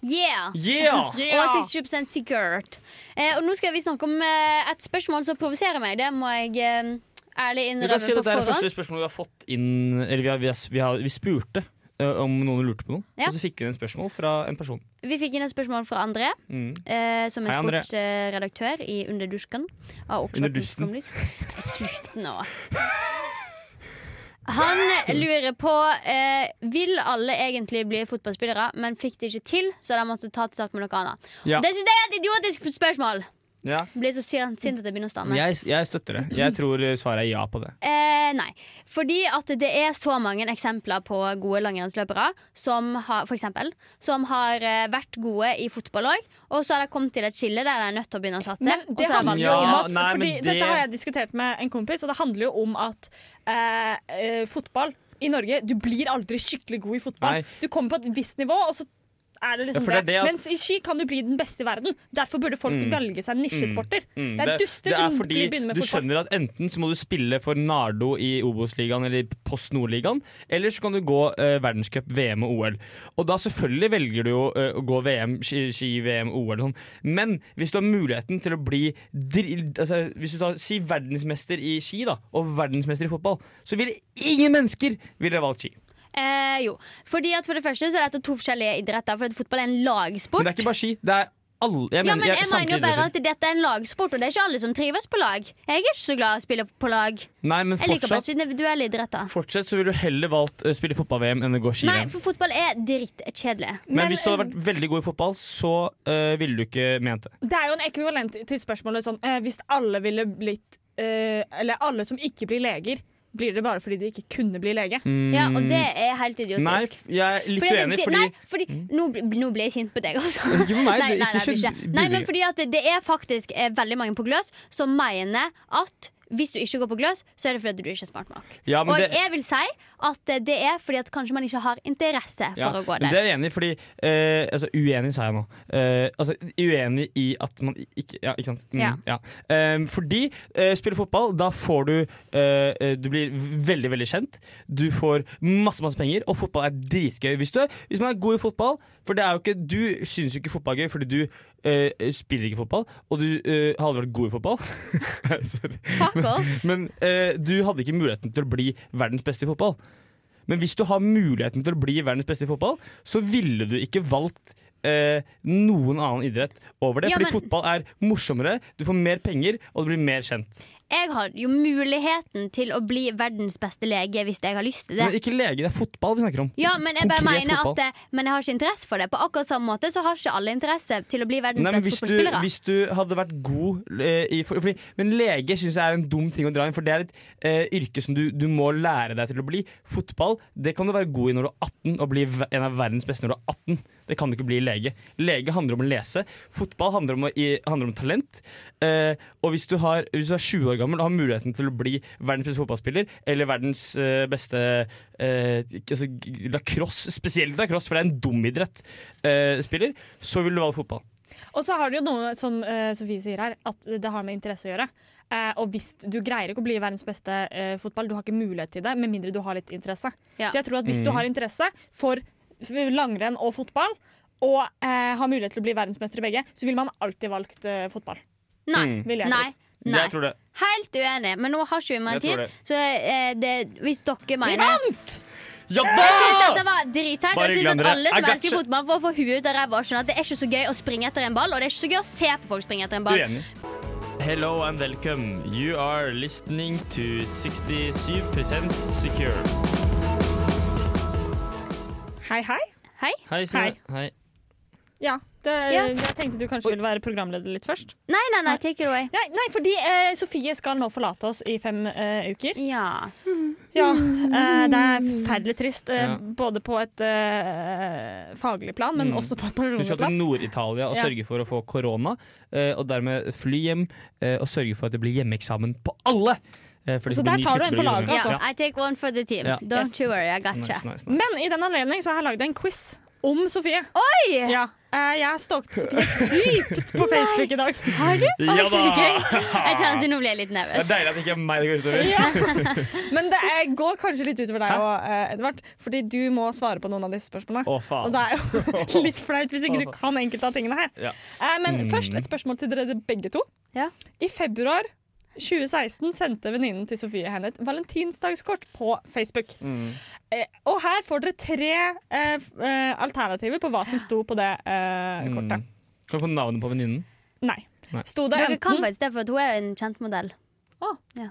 S3: Yeah!
S2: Yeah!
S3: Og 60 sikkert. Eh, og nå skal vi snakke om eh, et spørsmål som provoserer meg. Det må jeg eh, ærlig
S2: Vi kan
S3: innrømme
S2: si at
S3: på
S2: Det er det
S3: forhånd.
S2: første spørsmålet vi har fått inn Eller vi, har, vi, har, vi, har, vi spurte eh, om noen lurte på noe.
S3: Ja.
S2: Og så fikk vi inn et spørsmål fra en person.
S3: Vi fikk inn et spørsmål fra André.
S2: Mm.
S3: Eh, som er
S2: Hei, André.
S3: sportsredaktør i Underdusken. Av Oxford
S2: Under dusten.
S3: Music Communist. Slutt nå. Han lurer på eh, Vil alle egentlig bli fotballspillere, men fikk det ikke til, så de måtte ta til tak med noe annet.
S2: Ja.
S3: Det synes jeg er et idiotisk spørsmål!
S2: Ja.
S3: Jeg Blir så sint sint at jeg begynner å stamme.
S2: Jeg, jeg støtter det. Jeg tror eh, svaret er ja på det.
S3: Eh, nei. Fordi at det er så mange eksempler på gode langrennsløpere som har, for eksempel, som har eh, vært gode i fotball òg, og så har de kommet til et skille der de er nødt til å begynne å satse.
S1: Men
S3: og
S1: det
S3: så har de
S1: handler
S3: valgt-
S1: jo
S2: Ja,
S1: om at
S2: nei, men
S1: Fordi
S2: det-
S1: dette har jeg diskutert med en kompis, og det handler jo om at eh, eh, fotball i Norge Du blir aldri skikkelig god i fotball.
S2: Nei.
S1: Du kommer på et visst nivå, og så er
S2: Ja,
S1: det liksom
S2: for det er
S1: det.
S2: det at-
S1: Mens i ski kan du bli den beste i verden. Derfor burde folk velge seg nisjesporter.
S2: Mm,
S1: Det er duster
S2: det er
S3: sånn
S1: som
S2: fordi
S1: begynner med
S2: Du
S1: fotball.
S2: skjønner at enten så må du spille for Nardo i Obos-ligaen eller Post Nordligaen, eller så kan du gå eh, verdenscup, VM og OL. Og da selvfølgelig velger du jo eh, å gå VM, ski, ski VM, OL og sånn, men hvis du har muligheten til å bli drill, altså, Hvis du tar, si verdensmester i ski da, og verdensmester i fotball, så ville ingen mennesker ville valgt ski.
S3: Eh, jo. Fordi at For det første så er dette to forskjellige idretter. For at fotball er en
S2: Men
S3: lagsport.
S2: det er ikke bare ski. det er alle, jeg mener,
S3: ja, men jeg mener jo
S2: samtlige
S3: bare
S2: idretter.
S3: at dette er en lagsport, og det er ikke alle som trives på lag. Jeg er ikke så glad i å spille på lag.
S2: Nei, men
S3: Jeg liker best
S2: fortsatt,
S3: individuelle idretter.
S2: fortsatt så ville du heller valgt å spille fotball-VM enn å gå
S3: Nei,
S2: ski-VM.
S3: for fotball er drittkjedelig.
S2: Men, hvis du hadde vært veldig god i fotball, så øh, ville du ikke ment det.
S1: Det er jo en ekvivalent til spørsmålet sånn eh, Hvis alle ville blitt eh, Eller alle som ikke blir leger, blir det bare fordi de ikke kunne bli lege.
S3: Ja, og det er helt idiotisk.
S2: Mm, Nei, f- jeg er litt
S3: Fordi det-
S2: uenig,
S3: det-
S2: fordi <laughs>
S3: Nei, fordi nå, bl- nå ble jeg sint på deg, altså.
S2: Ikke på meg,
S3: nei,
S2: det-
S3: nei,
S2: ikke
S3: nei,
S2: så
S3: jeg blir ikke. nei, men
S2: billig.
S3: fordi at det- det er faktisk eh, veldig mange på gløs som mener at hvis du ikke går på gløs, så er det fordi at du ikke er smart nok.
S2: ja, men
S3: Og
S2: det,
S3: jeg vil si at eh, det er fordi at kanskje man ikke har interesse for
S2: ja,
S3: å gå
S2: men
S3: der.
S2: det er jeg enig i, fordi eh, Altså, uenig, sa jeg nå. Eh, altså, uenig i at man ikke Ja, ikke sant? Mm,
S3: Ja.
S2: Eh, fordi eh, spiller fotball, da får du eh, eh, Du blir veldig, veldig kjent. Du får masse, masse penger, og fotball er dritgøy. Hvis, du, er- hvis man er god i fotball For det er jo ikke Du syns jo ikke fotball er gøy fordi du eh, spiller ikke fotball, og du eh, har aldri vært god i fotball. <laughs> Sorry.
S3: Fuck off.
S2: Men eh, du hadde ikke muligheten til å bli verdens beste i fotball. Men hvis du har muligheten til å bli verdens beste i fotball, så ville du ikke valgt eh, noen annen idrett over det.
S3: Ja,
S2: fordi
S3: men-
S2: fotball er morsommere, du får mer penger, og du blir mer kjent.
S3: Jeg har jo muligheten til å bli verdens beste lege hvis jeg har lyst til det.
S2: Men ikke lege, det er fotball vi snakker om.
S3: Ja, men jeg bare
S2: Konkret
S3: mener
S2: fotball.
S3: at eh, Men jeg har ikke interesse for det. På akkurat samme måte så har ikke alle interesse til å bli verdens
S2: Nei, men
S3: beste
S2: hvis, du,
S3: fotballspillere.
S2: hvis du hadde vært god eh, i for, fordi, Men lege syns jeg er en dum ting å dra inn, for det er et eh, yrke som du, du må lære deg til å bli. Fotball det kan du være god i når du er 18, og bli ve- en av verdens beste når du er 18. Det kan du ikke bli lege. Lege handler om å lese. Fotball handler om, å, i, handler om talent. Eh, og hvis du, har, hvis du er 20 år gammel og har muligheten til å bli verdens beste fotballspiller, eller verdens eh, beste eh, altså, g- lacrosse, spesielt lacrosse, for det er en dum idrett, eh, spiller, så vil du valge fotball.
S1: Og så har det jo noe som eh, Sofie sier her, at det har med interesse å gjøre. Eh, og hvis du greier ikke å bli verdens beste eh, fotball, du har ikke mulighet til det, med mindre du har litt interesse.
S3: Ja.
S1: Så jeg tror at hvis du har interesse for f- langrenn og fotball, og eh, har mulighet til å bli verdensmester i begge, så ville man alltid valgt eh, fotball.
S3: Nei.
S2: Mm.
S1: Vil jeg
S3: Nei.
S1: tro.
S3: Nei.
S2: Jeg tror det.
S3: Helt uenig, men nå har ikke vi mer
S2: Jeg tror
S3: tid.
S2: det.
S3: Så eh, det, hvis dere mener Jeg
S2: Ja
S3: synes at
S2: da!
S3: det var drithekk.
S2: Bare
S3: Jeg synes
S2: glem
S3: at
S2: dere.
S3: alle som
S2: I
S3: elsker
S2: gotcha.
S3: fotball, får få huet ut av ræva og skjønner at det er ikke så gøy å springe etter en ball, og det er ikke så gøy å se på folk springe etter en ball.
S2: Uenig. Hello and welcome. You are listening to 67% secure.
S1: Hei, hei.
S3: Hei?
S2: Hei,
S1: Signe.
S2: Hei.
S1: Ja, det,
S3: Ja.
S1: Jeg tenkte du kanskje ville være programleder litt først.
S3: Nei, nei, nei, take it away.
S1: Nei, nei fordi eh, Sofie skal nå forlate oss i fem eh, uker.
S3: Ja.
S1: Ja, eh, det er forferdelig trist. eh,
S2: Ja.
S1: Både på et eh, faglig plan, men
S2: Mm.
S1: også på et
S2: Hun
S1: personlig
S2: skal til
S1: plan.
S2: Nord-Italia og
S1: Ja.
S2: sørge for å få korona, eh, og dermed fly hjem eh, og sørge for at det blir hjemmeeksamen på alle. eh, for de
S1: Så
S2: som
S1: der
S2: blir
S1: tar du en
S2: sykepleiere
S1: for
S2: i
S1: laget,
S2: Norge.
S1: altså.
S2: Ja.
S3: I take one for the team.
S2: Ja.
S3: Don't
S1: Yes.
S3: you worry, I gotcha.
S2: Nice, nice, nice.
S1: Men i den anledning så har jeg lagd en quiz om Sofie.
S3: Oi!
S1: Ja. Eh, jeg har stalket Sofie
S2: <laughs>
S1: dypt på Facebook i dag.
S3: Har du? Å,
S2: Ja
S1: altså,
S2: da!
S3: så gøy. Jeg kjenner at nå blir jeg litt
S2: Det er
S3: nervøs.
S2: deilig at det ikke er meg det går utover.
S1: <laughs> Ja.
S2: <laughs>
S1: Men det eh, går kanskje litt
S2: Hæ?
S1: utover deg og eh, Edvard, fordi du må svare på noen av disse spørsmålene.
S2: Å,
S1: Og
S2: faen.
S1: det er jo <laughs> litt flaut hvis ikke du kan enkelte av tingene her.
S2: Ja.
S1: Eh, men
S2: Mm.
S1: først et spørsmål til dere begge to.
S3: Ja.
S1: I februar 2016 sendte venninnen til Sofie henne et valentinsdagskort på Facebook.
S2: Mm.
S1: Eh, og her får dere tre eh, f- eh, alternativer på hva som sto på det eh,
S2: Mm.
S1: kortet.
S2: Kan jeg få navnet på venninnen?
S1: Nei.
S2: Nei.
S1: Sto det
S3: Dere kan
S1: enten,
S3: faktisk det, for at hun er jo en kjent modell.
S1: Å.
S3: Ja.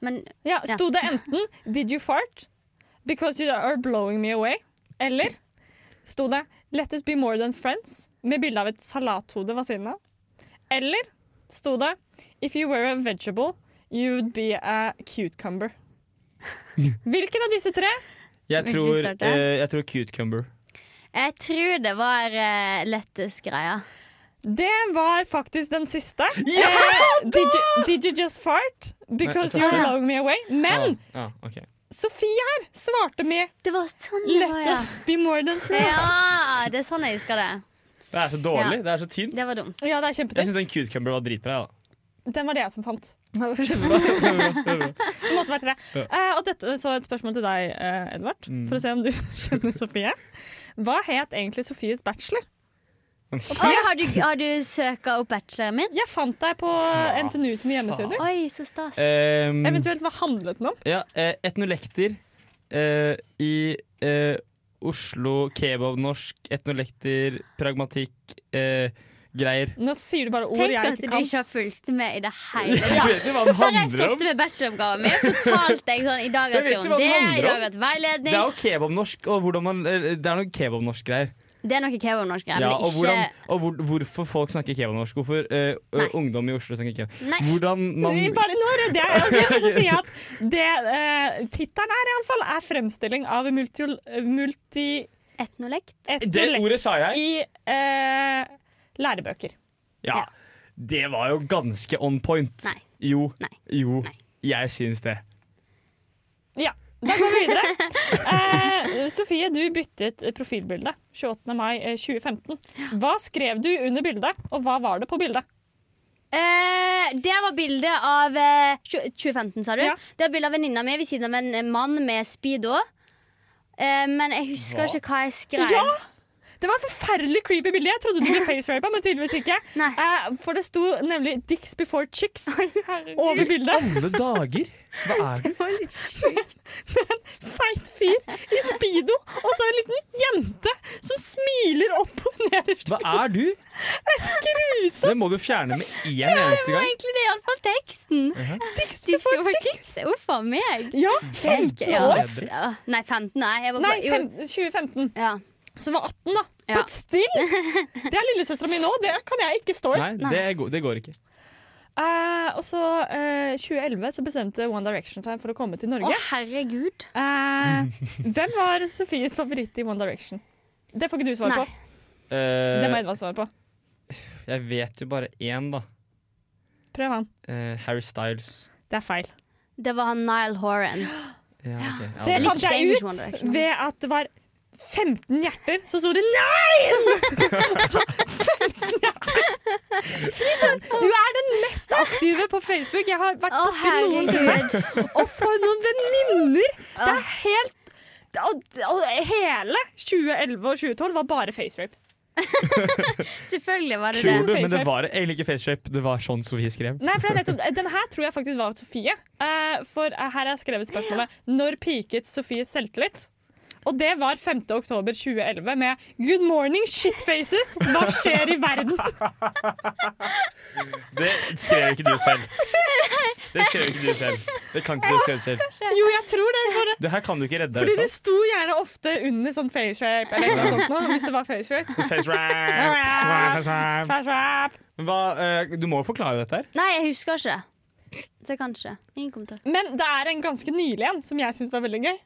S3: Men
S1: ja, sto det enten 'Did you fart? Because you are blowing me away'? Eller sto det 'Let us be more than friends' med bilde av et salathode ved siden av? Eller sto det 'If you were a vegetable, you would be a cucumber'?
S3: <laughs>
S1: Hvilken av disse tre?
S2: Jeg
S3: Vil du
S2: tror,
S3: starte?
S2: eh, jeg tror Cucumber.
S3: jeg tror det var uh, greia.
S1: Det var faktisk den siste. Eh, did, you, did you just fart? Because
S2: Nei,
S1: you're
S3: første.
S1: blowing me away. Men
S2: Ja, ja, ok.
S1: Sofie her svarte med
S3: Det var sånn det var,
S1: Let
S3: ja.
S1: us be more than friends.
S3: Ja, det er sånn jeg husker det.
S2: Det er så dårlig. Det er så tynt.
S3: Det var dumt.
S1: Ja, det er
S2: Jeg
S1: kjempetrist.
S2: syns den Cucumber var dritbra. Ja.
S1: Den var det jeg
S3: <laughs>
S1: som fant.
S2: Kjempebra.
S1: Det måtte være tre. Eh, og dette så et spørsmål til deg, eh, Edvard,
S2: Mm.
S1: for å se om du <laughs> kjenner Sofie. Hva het egentlig Sofies bachelor?
S3: Oi, har du, har du søka opp bacheloren min?
S1: Jeg fant deg på NTNU sine hjemmesider.
S3: Oi, så stas. Mm.
S2: Ehm,
S1: Eventuelt, hva handlet den om?
S2: ja, eh, etnolekter eh, i eh, Oslo kebabnorsk etnolekter pragmatikk eh, greier.
S1: Nå sier du bare ord
S3: Tenk
S1: jeg
S3: at
S1: ikke
S3: du
S1: kan.
S3: ikke har fulgt med i det
S2: <laughs>
S3: hele tatt.
S2: Jeg vet jo
S3: <laughs>
S2: hva den
S3: Når jeg
S2: handler om!
S3: satte med bacheloroppgaven min, fortalte jeg sånn I dag har
S2: Jeg
S3: jeg
S2: vet jo hva
S3: skrevet om
S2: den
S3: det,
S2: handler
S3: i dag har jeg
S2: om.
S3: hatt
S2: Det er
S3: veiledning.
S2: jo kebabnorsk og hvordan man eh, Det er noe kebabnorsk greier.
S3: Det er noe kebabnorsk-greier,
S2: Ja,
S3: men
S2: og
S3: ikke
S2: hvordan, og hvor, hvorfor folk snakker kebanorsk. Hvorfor eh,
S3: Nei.
S2: ungdom i Oslo snakker kebab.
S3: Nei.
S2: Hvordan man
S1: Vi Bare nå rydder jeg og sier, og så sier jeg at det eh, tittelen her i alle fall er fremstilling av multi... multi
S3: Etnolekt.
S1: et
S2: Det ordet sa jeg!
S1: i eh, lærebøker.
S2: Ja. Det var jo ganske on point.
S3: Nei.
S2: Jo.
S3: Nei.
S2: Jo.
S3: Nei.
S2: Jeg syns det.
S1: Ja. Da går vi videre. Eh, Sofie, du byttet profilbilde 28. mai eh, 2015. Hva skrev du under bildet, og hva var det på bildet?
S3: Eh, det var bilde av eh, tju- 2015, sa du?
S1: Ja.
S3: Det var bilde av venninna mi ved siden av en eh, mann med speedo. Eh, men jeg husker
S2: Hva?
S3: ikke hva jeg skrev.
S1: Ja! Det var et forferdelig creepy bilde. Jeg trodde du ble facerapa, men tydeligvis ikke.
S3: Nei.
S1: Eh, for det sto nemlig 'Dicks before chicks'
S3: <laughs>
S1: over bildet.
S2: Alle dager! Hva er det?
S1: Feit fyr i speedo, og så en liten jente som smiler opp og nederst.
S2: Hva er du?
S1: Grusomt!
S2: Det må du fjerne med én eneste gang.
S3: Egentlig det er iallfall teksten.
S2: Uh-huh.
S1: Dicks
S3: De
S1: before
S3: skulle være
S1: chicks.
S3: chicks. Uff a meg.
S1: Ja,
S3: Jeg-
S1: 15
S3: ja.
S1: år.
S3: Ja. Nei, 15. Nei, jeg var
S1: Nei,
S3: på, jo,
S1: fem, 2015.
S3: ja.
S1: Så var 18, da.
S3: Ja.
S1: But still! Det er lillesøstera mi nå. Det kan jeg ikke stå i.
S2: Nei, det, går- det går ikke.
S1: Eh, og så eh, 2011 så bestemte One Direction seg for å komme til
S3: Å,
S1: Norge.
S3: herregud.
S1: Eh, hvem var Sofies favoritt i One Direction? Det får ikke du svar
S3: Nei.
S1: på. Det må
S2: Eh,
S1: Edvard svare på.
S2: jeg vet jo bare én, da.
S1: Prøv han.
S2: Eh, Harry Styles.
S1: Det er feil.
S3: Det var han Nile Horan.
S2: Ja, ok. Ja,
S1: Det
S3: Jeg
S1: fant
S3: likte
S1: jeg
S3: English
S1: ut
S3: One Direction.
S1: ved at det var 15 hjerter, så sto det
S3: <laughs>
S1: 'nein'! Så 15 hjerter! Fy søren, du er den mest aktive på Facebook jeg har vært
S3: Å,
S1: oppi noensinne.
S3: herregud.
S1: Og for noen venninner! Det er helt og, og altså, hele 2011 og 2012 var bare facerape.
S3: Selvfølgelig var det
S2: Tror
S3: det.
S2: du, men det var egentlig ikke faceshape. Det var sånn Sofie skrev.
S1: Nei, for det er nettopp, Den her tror jeg faktisk var Sofie. Eh, for her har jeg skrevet spørsmålet 'Når piket Sofies selvtillit?' Og det var 5. oktober 2011 med 'Good morning, shitfaces! Hva skjer i verden?'
S2: Det skrev ikke du selv. Det skrev ikke du selv. Det kan ikke du skrive selv.
S1: Jo, jeg tror det. For,
S2: Det her kan du ikke redde
S1: fordi
S2: deg
S1: det sto gjerne ofte under sånn facerape eller noe sånt nå, hvis det var facerape.
S2: ut av.
S1: Facerape.
S2: Hva, eh, du må jo forklare dette her.
S3: Nei, jeg husker ikke. Så jeg kan ikke. Ingen kommentar.
S1: Men det er en ganske nylig en som jeg syns var veldig gøy.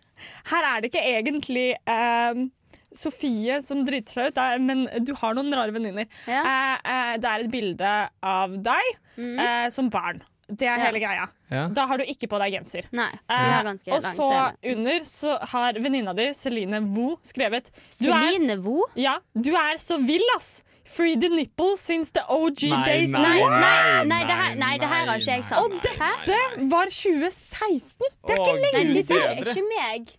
S1: Her er det ikke egentlig ehm, Sofie som driter seg ut, det er, men du har noen rare venninner.
S3: Ja. Mm.
S1: Eh, eh, det er et bilde av deg eh, som barn. Det er hele greia.
S2: Ja.
S1: Da har du ikke på deg genser.
S3: Nei.
S1: Eh,
S3: Jeg har ganske
S1: og
S3: lang
S1: så
S3: scene.
S1: under så har venninna di, Celine Wu, skrevet du er,
S3: Celine Vo?
S1: ja, du er så vill, ass! Free the nipples since the OG days.
S3: nei, nei, nei, det her- nei, det her har ikke jeg sagt.
S1: Og dette var 2016!
S2: Det er ikke
S3: Nei, dette er ikke meg.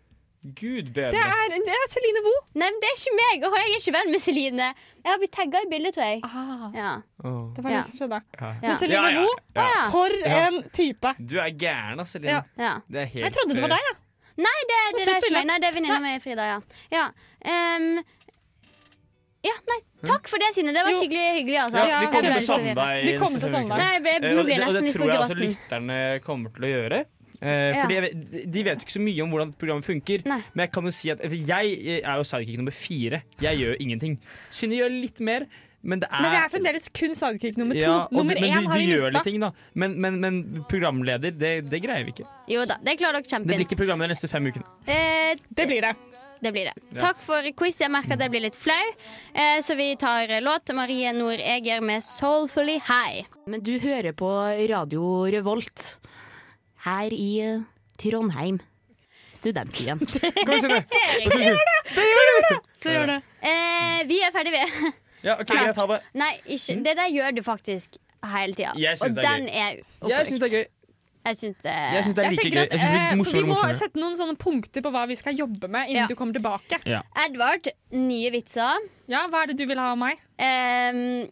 S2: Gud bedre.
S1: Det er, det er Celine Wu.
S3: Nei, men det er ikke meg, og jeg er ikke venn med Celine. Jeg har blitt tagga i bildet, tror jeg.
S1: Ah.
S3: Ja.
S2: Åh.
S1: Det var
S3: Ja.
S1: det som skjedde.
S2: Ja.
S3: Ja.
S1: Men Celine
S2: Ja, ja,
S1: Vo,
S2: ja.
S3: Ja.
S1: for
S2: Ja.
S1: en type!
S2: Du er gæren, altså,
S1: Ja.
S2: Linn.
S3: ja.
S2: Det er helt eh,
S1: Jeg trodde det var deg, altså. jeg.
S3: Det, det, det er ikke
S1: bilde.
S3: meg. Nei, det er venninna mi, Frida. Ja. Ja. ehm, ja, nei, takk for det, Sine. Det var
S1: Jo.
S3: skikkelig hyggelig, altså.
S2: Ja,
S1: Ja,
S2: vi
S1: jeg
S2: kommer
S1: ble
S2: til å savne deg.
S1: Vi kommer til å savne deg.
S3: Nei, jeg ble,
S2: Eh,
S3: nå
S2: og
S3: blir jeg
S2: det- og
S3: nesten
S2: det
S3: litt
S2: tror jeg
S3: full i
S2: altså
S3: votten.
S2: lytterne kommer til å gjøre. Eh,
S3: Ja.
S2: Fordi jeg, vet- de- De vet jo ikke så mye om hvordan programmet funker,
S3: Nei.
S2: men jeg kan jo si at for jeg eh, er jo sidekick nummer fire. Jeg gjør jo ingenting. Synne gjør litt mer, men det er
S1: Men det er fremdeles kun sidekick nummer to.
S2: Ja, og du-
S1: nummer
S2: men
S1: én
S2: du,
S1: har
S2: du
S1: vi
S2: gjør
S1: mista.
S2: litt ting, da. Men, men, men programleder, det, det greier vi ikke.
S3: Jo da, det klarer dere
S2: Det blir
S3: kjempefint.
S2: ikke programleder de neste fem ukene.
S3: Eh,
S1: Det blir det.
S3: det blir det.
S2: Ja.
S3: Takk for quiz. Jeg merker at jeg blir litt flau, eh, så vi tar eh, låt. Marie Nordeger med 'Soulfully High'.
S7: Men du hører på Radio Revolt her i eh, Trondheim. Studentbyen.
S2: Kom, Synne!
S1: <laughs>
S3: Det er riktig.
S1: Det gjør det.
S3: Eh, vi <laughs> er ferdig ved
S2: Ja, ok, greit, ha det.
S3: Nei, ikke. det der gjør du faktisk hele tida.
S2: Mm. Jeg synes
S3: Og
S2: det er
S3: den er oppbrukt.
S2: Jeg syns det er gøy.
S3: Jeg syns det
S2: Jeg synes det er
S1: Jeg
S2: like
S1: tenker
S2: gøy.
S1: at,
S2: Jeg synes det
S1: eh,
S2: blir
S1: så vi
S2: morsommere og
S1: må
S2: morsommere.
S1: sette noen sånne punkter på hva vi skal jobbe med
S3: Ja.
S1: innen du kommer tilbake.
S3: Edvard, nye vitser.
S1: Ja, Hva er det du vil ha av meg?
S3: Ehm,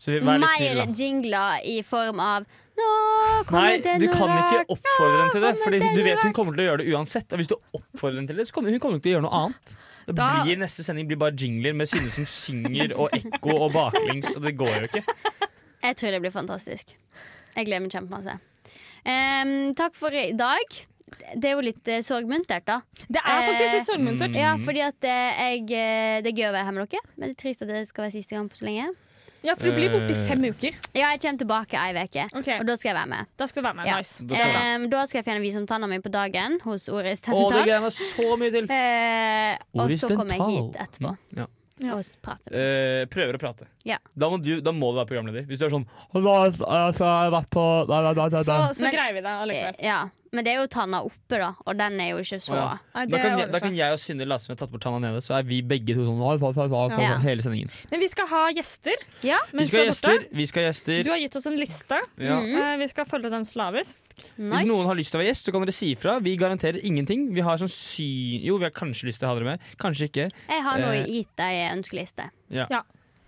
S2: Så vi- vær litt snill,
S3: mer
S2: da.
S3: jingler i form av Nå kommer
S2: Nei,
S3: det
S2: du
S3: noe
S2: kan ikke
S3: rart.
S2: oppfordre henne til det.
S3: Nå kommer
S2: Fordi
S3: det
S2: du
S3: noe
S2: vet hun
S3: rart.
S2: kommer til å gjøre det uansett. Og hvis du oppfordrer henne til det, så kommer hun kommer ikke til å gjøre noe annet. Det
S1: Da-
S2: blir Neste sending blir bare jingler med Synne som synger og ekko og baklengs, og det går jo ikke.
S3: Jeg tror det blir fantastisk. Jeg gleder meg kjempemasse. Ehm, takk for i dag. det er jo litt eh, sorgmuntert, da.
S1: Det er faktisk
S3: Eh,
S1: litt
S2: Mm.
S1: sorgmuntert.
S3: Ja, fordi at eh, jeg eh, Det er gøy å være her med dere, men det er trist at det skal være siste gang på så lenge.
S1: Ja, for du blir borte i
S2: Eh.
S1: fem uker.
S3: Ja, jeg kommer tilbake ei uke,
S1: Ok,
S3: og da skal jeg være med.
S1: Da skal du være med.
S3: Ja.
S1: Nice.
S2: Da skal jeg.
S3: Ehm, da skal jeg fjerne visumtanna mi på dagen hos Oris
S2: Å, det
S3: Tental.
S2: gleder jeg meg så mye til!
S3: Eh, og
S2: Oris Mhm.
S3: så kommer jeg
S2: Dental. Mm,
S3: hit etterpå
S2: Ja.
S1: Ja.
S3: og prater.
S2: Eh, prøver å prate.
S3: Ja.
S2: Da, må du, da må du være programleder. Hvis du er sånn
S1: Så, så
S3: Men-
S1: greier vi det allikevel.
S3: Eh, Ja, men det er jo tanna oppe, da, og den er jo ikke så
S2: Å, da
S1: Nei,
S2: kan,
S1: det
S2: jeg,
S1: ordner
S2: da
S1: seg.
S2: kan jeg og Synne late som vi har tatt bort tanna nede, så er vi begge to sånn
S3: Ja.
S2: hele sendingen.
S1: Men vi skal ha gjester.
S3: Ja.
S2: Vi
S1: mens
S2: skal ha
S1: du er borte.
S2: gjester. Vi skal ha
S1: Du
S2: gjester.
S1: har gitt oss en liste.
S2: Ja.
S3: Mm.
S1: Eh, Vi skal følge den slavisk.
S3: nice.
S2: Hvis noen har lyst til å være gjest, så kan dere si ifra. Vi garanterer ingenting. Vi har sånn sy... Jo, vi har kanskje lyst til å ha dere med. Kanskje ikke.
S3: Jeg har noe
S2: Eh.
S3: gitt deg ønskeliste.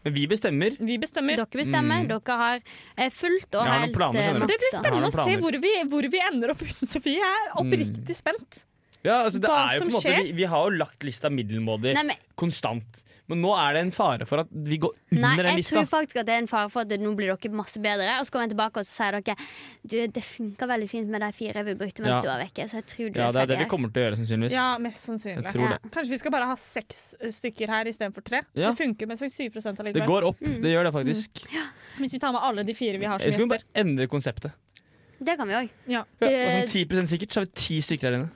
S2: Men vi bestemmer.
S1: Vi bestemmer.
S3: Dere bestemmer.
S2: Mm.
S3: Dere har eh, fullt og
S2: Jeg har noen
S3: helt
S2: planer,
S3: eh,
S2: skjønner du. Mm.
S1: For det blir
S3: makta.
S1: spennende
S2: Jeg
S1: å
S2: har
S1: se
S2: noen
S1: hvor vi, hvor vi ender opp uten Sofie. Jeg er oppriktig spent.
S2: Ja, altså, det
S1: Hva
S2: er jo på en
S1: som
S2: måte,
S1: skjer?
S2: vi, vi har jo lagt lista middelmådig
S3: Nei, men,
S2: konstant. Men nå er det en fare for at vi går under
S3: nei,
S2: den
S3: jeg
S2: lista.
S3: tror faktisk at det er en fare for at nå blir dere masse bedre. Og så kommer jeg tilbake og så sier dere Du, det funka veldig fint med de fire vi brukte mens
S2: Ja.
S3: du var vekke. Så jeg tror du
S2: Ja,
S3: er
S2: det er
S3: ferdig.
S2: det vi
S3: her.
S2: kommer til å gjøre, sannsynligvis.
S1: Ja, mest
S2: Jeg
S1: sannsynlig.
S2: tror
S3: Ja.
S2: det.
S1: Kanskje vi skal bare ha seks eh, stykker her istedenfor tre.
S2: Ja.
S1: Det funker med 67
S2: Det
S1: allikevel.
S2: går opp. Det gjør det faktisk.
S1: Hvis vi tar med alle de fire vi har som
S2: Eller skal vi
S1: gjester.
S2: bare endre konseptet?
S3: Det kan vi òg.
S1: Ja.
S2: Ja,
S3: Det-
S2: og sånn 10 sikkert, så har vi ti stykker her inne.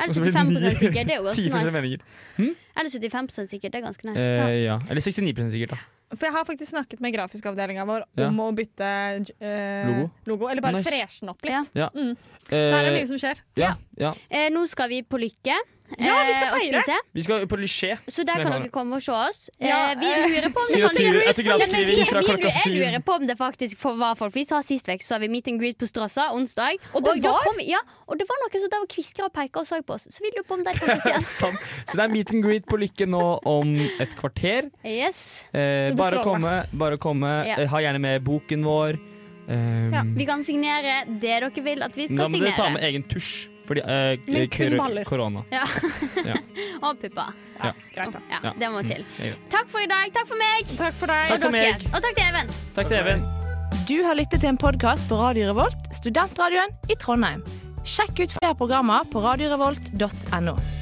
S3: Eller
S2: Og så blir det <laughs>
S3: 75
S2: ni-
S3: sikkert. Det er
S2: 10
S3: jo ganske
S2: forskjellige
S3: nice.
S2: meninger.
S3: Eller 75 sikkert. Det er ganske nice.
S2: Eh, ja. Eller 69 sikkert, da.
S1: For jeg har faktisk snakket med grafiskavdelinga vår
S2: Ja.
S1: om å bytte eh,
S2: Logo.
S1: logo. Eller bare
S2: Nice.
S1: freshe den opp litt.
S3: Ja.
S1: Så her er det
S2: Eh,
S1: mye som skjer.
S2: ja, ja.
S3: Eh, nå skal vi på Lykke
S1: Ja, vi skal
S3: eh, og
S1: feire.
S3: spise.
S2: Vi skal på Lyché. Som
S3: Så der
S2: jeg
S3: kan
S2: kaller
S3: dere
S2: det.
S3: komme og se oss.
S1: Ja,
S3: eh,
S1: <laughs>
S3: vi
S1: eh,
S3: lurer på om vi
S2: Sier
S3: kan
S2: tur etter
S3: Nei, men vi,
S2: gravskriving fra
S3: vi,
S2: klokka
S3: jeg
S2: syv.
S3: lurer på om det faktisk for, var folk. Vi sa sist vekk så sa vi meet and greet på Strassa onsdag.
S1: Og det
S3: da
S1: var?
S3: kom, ja, og det var noen som der var kviskere og peker og så på oss. Så vi lurer på om de kommer
S1: <laughs>
S3: til å se oss.
S2: Sånn. Så det er meet and greet på Lykke nå om et kvarter.
S3: Yes.
S2: Eh,
S1: Det blir
S2: bare
S1: strålende.
S2: komme. bare komme
S3: Ja.
S2: Eh, Ha gjerne med boken vår. Eh,
S1: Ja,
S3: Vi kan signere det dere vil at vi
S2: da
S3: skal
S2: må dere ta med
S3: signere.
S2: egen tusj, fordi eh,
S1: Men
S2: kor-
S1: kun baller.
S2: korona.
S3: Og pupper.
S1: Greit, da.
S3: Ja, det må
S2: Mm,
S3: til.
S2: det er greit.
S3: Takk for i dag. Takk for meg.
S1: Takk for deg.
S2: Takk for
S3: og dere.
S2: meg.
S3: Og takk til Even.
S2: Takk til Even.
S8: Du har lyttet til en podkast på Radio Revolt, studentradioen i Trondheim. Sjekk ut flere programmer på radiorevolt.no.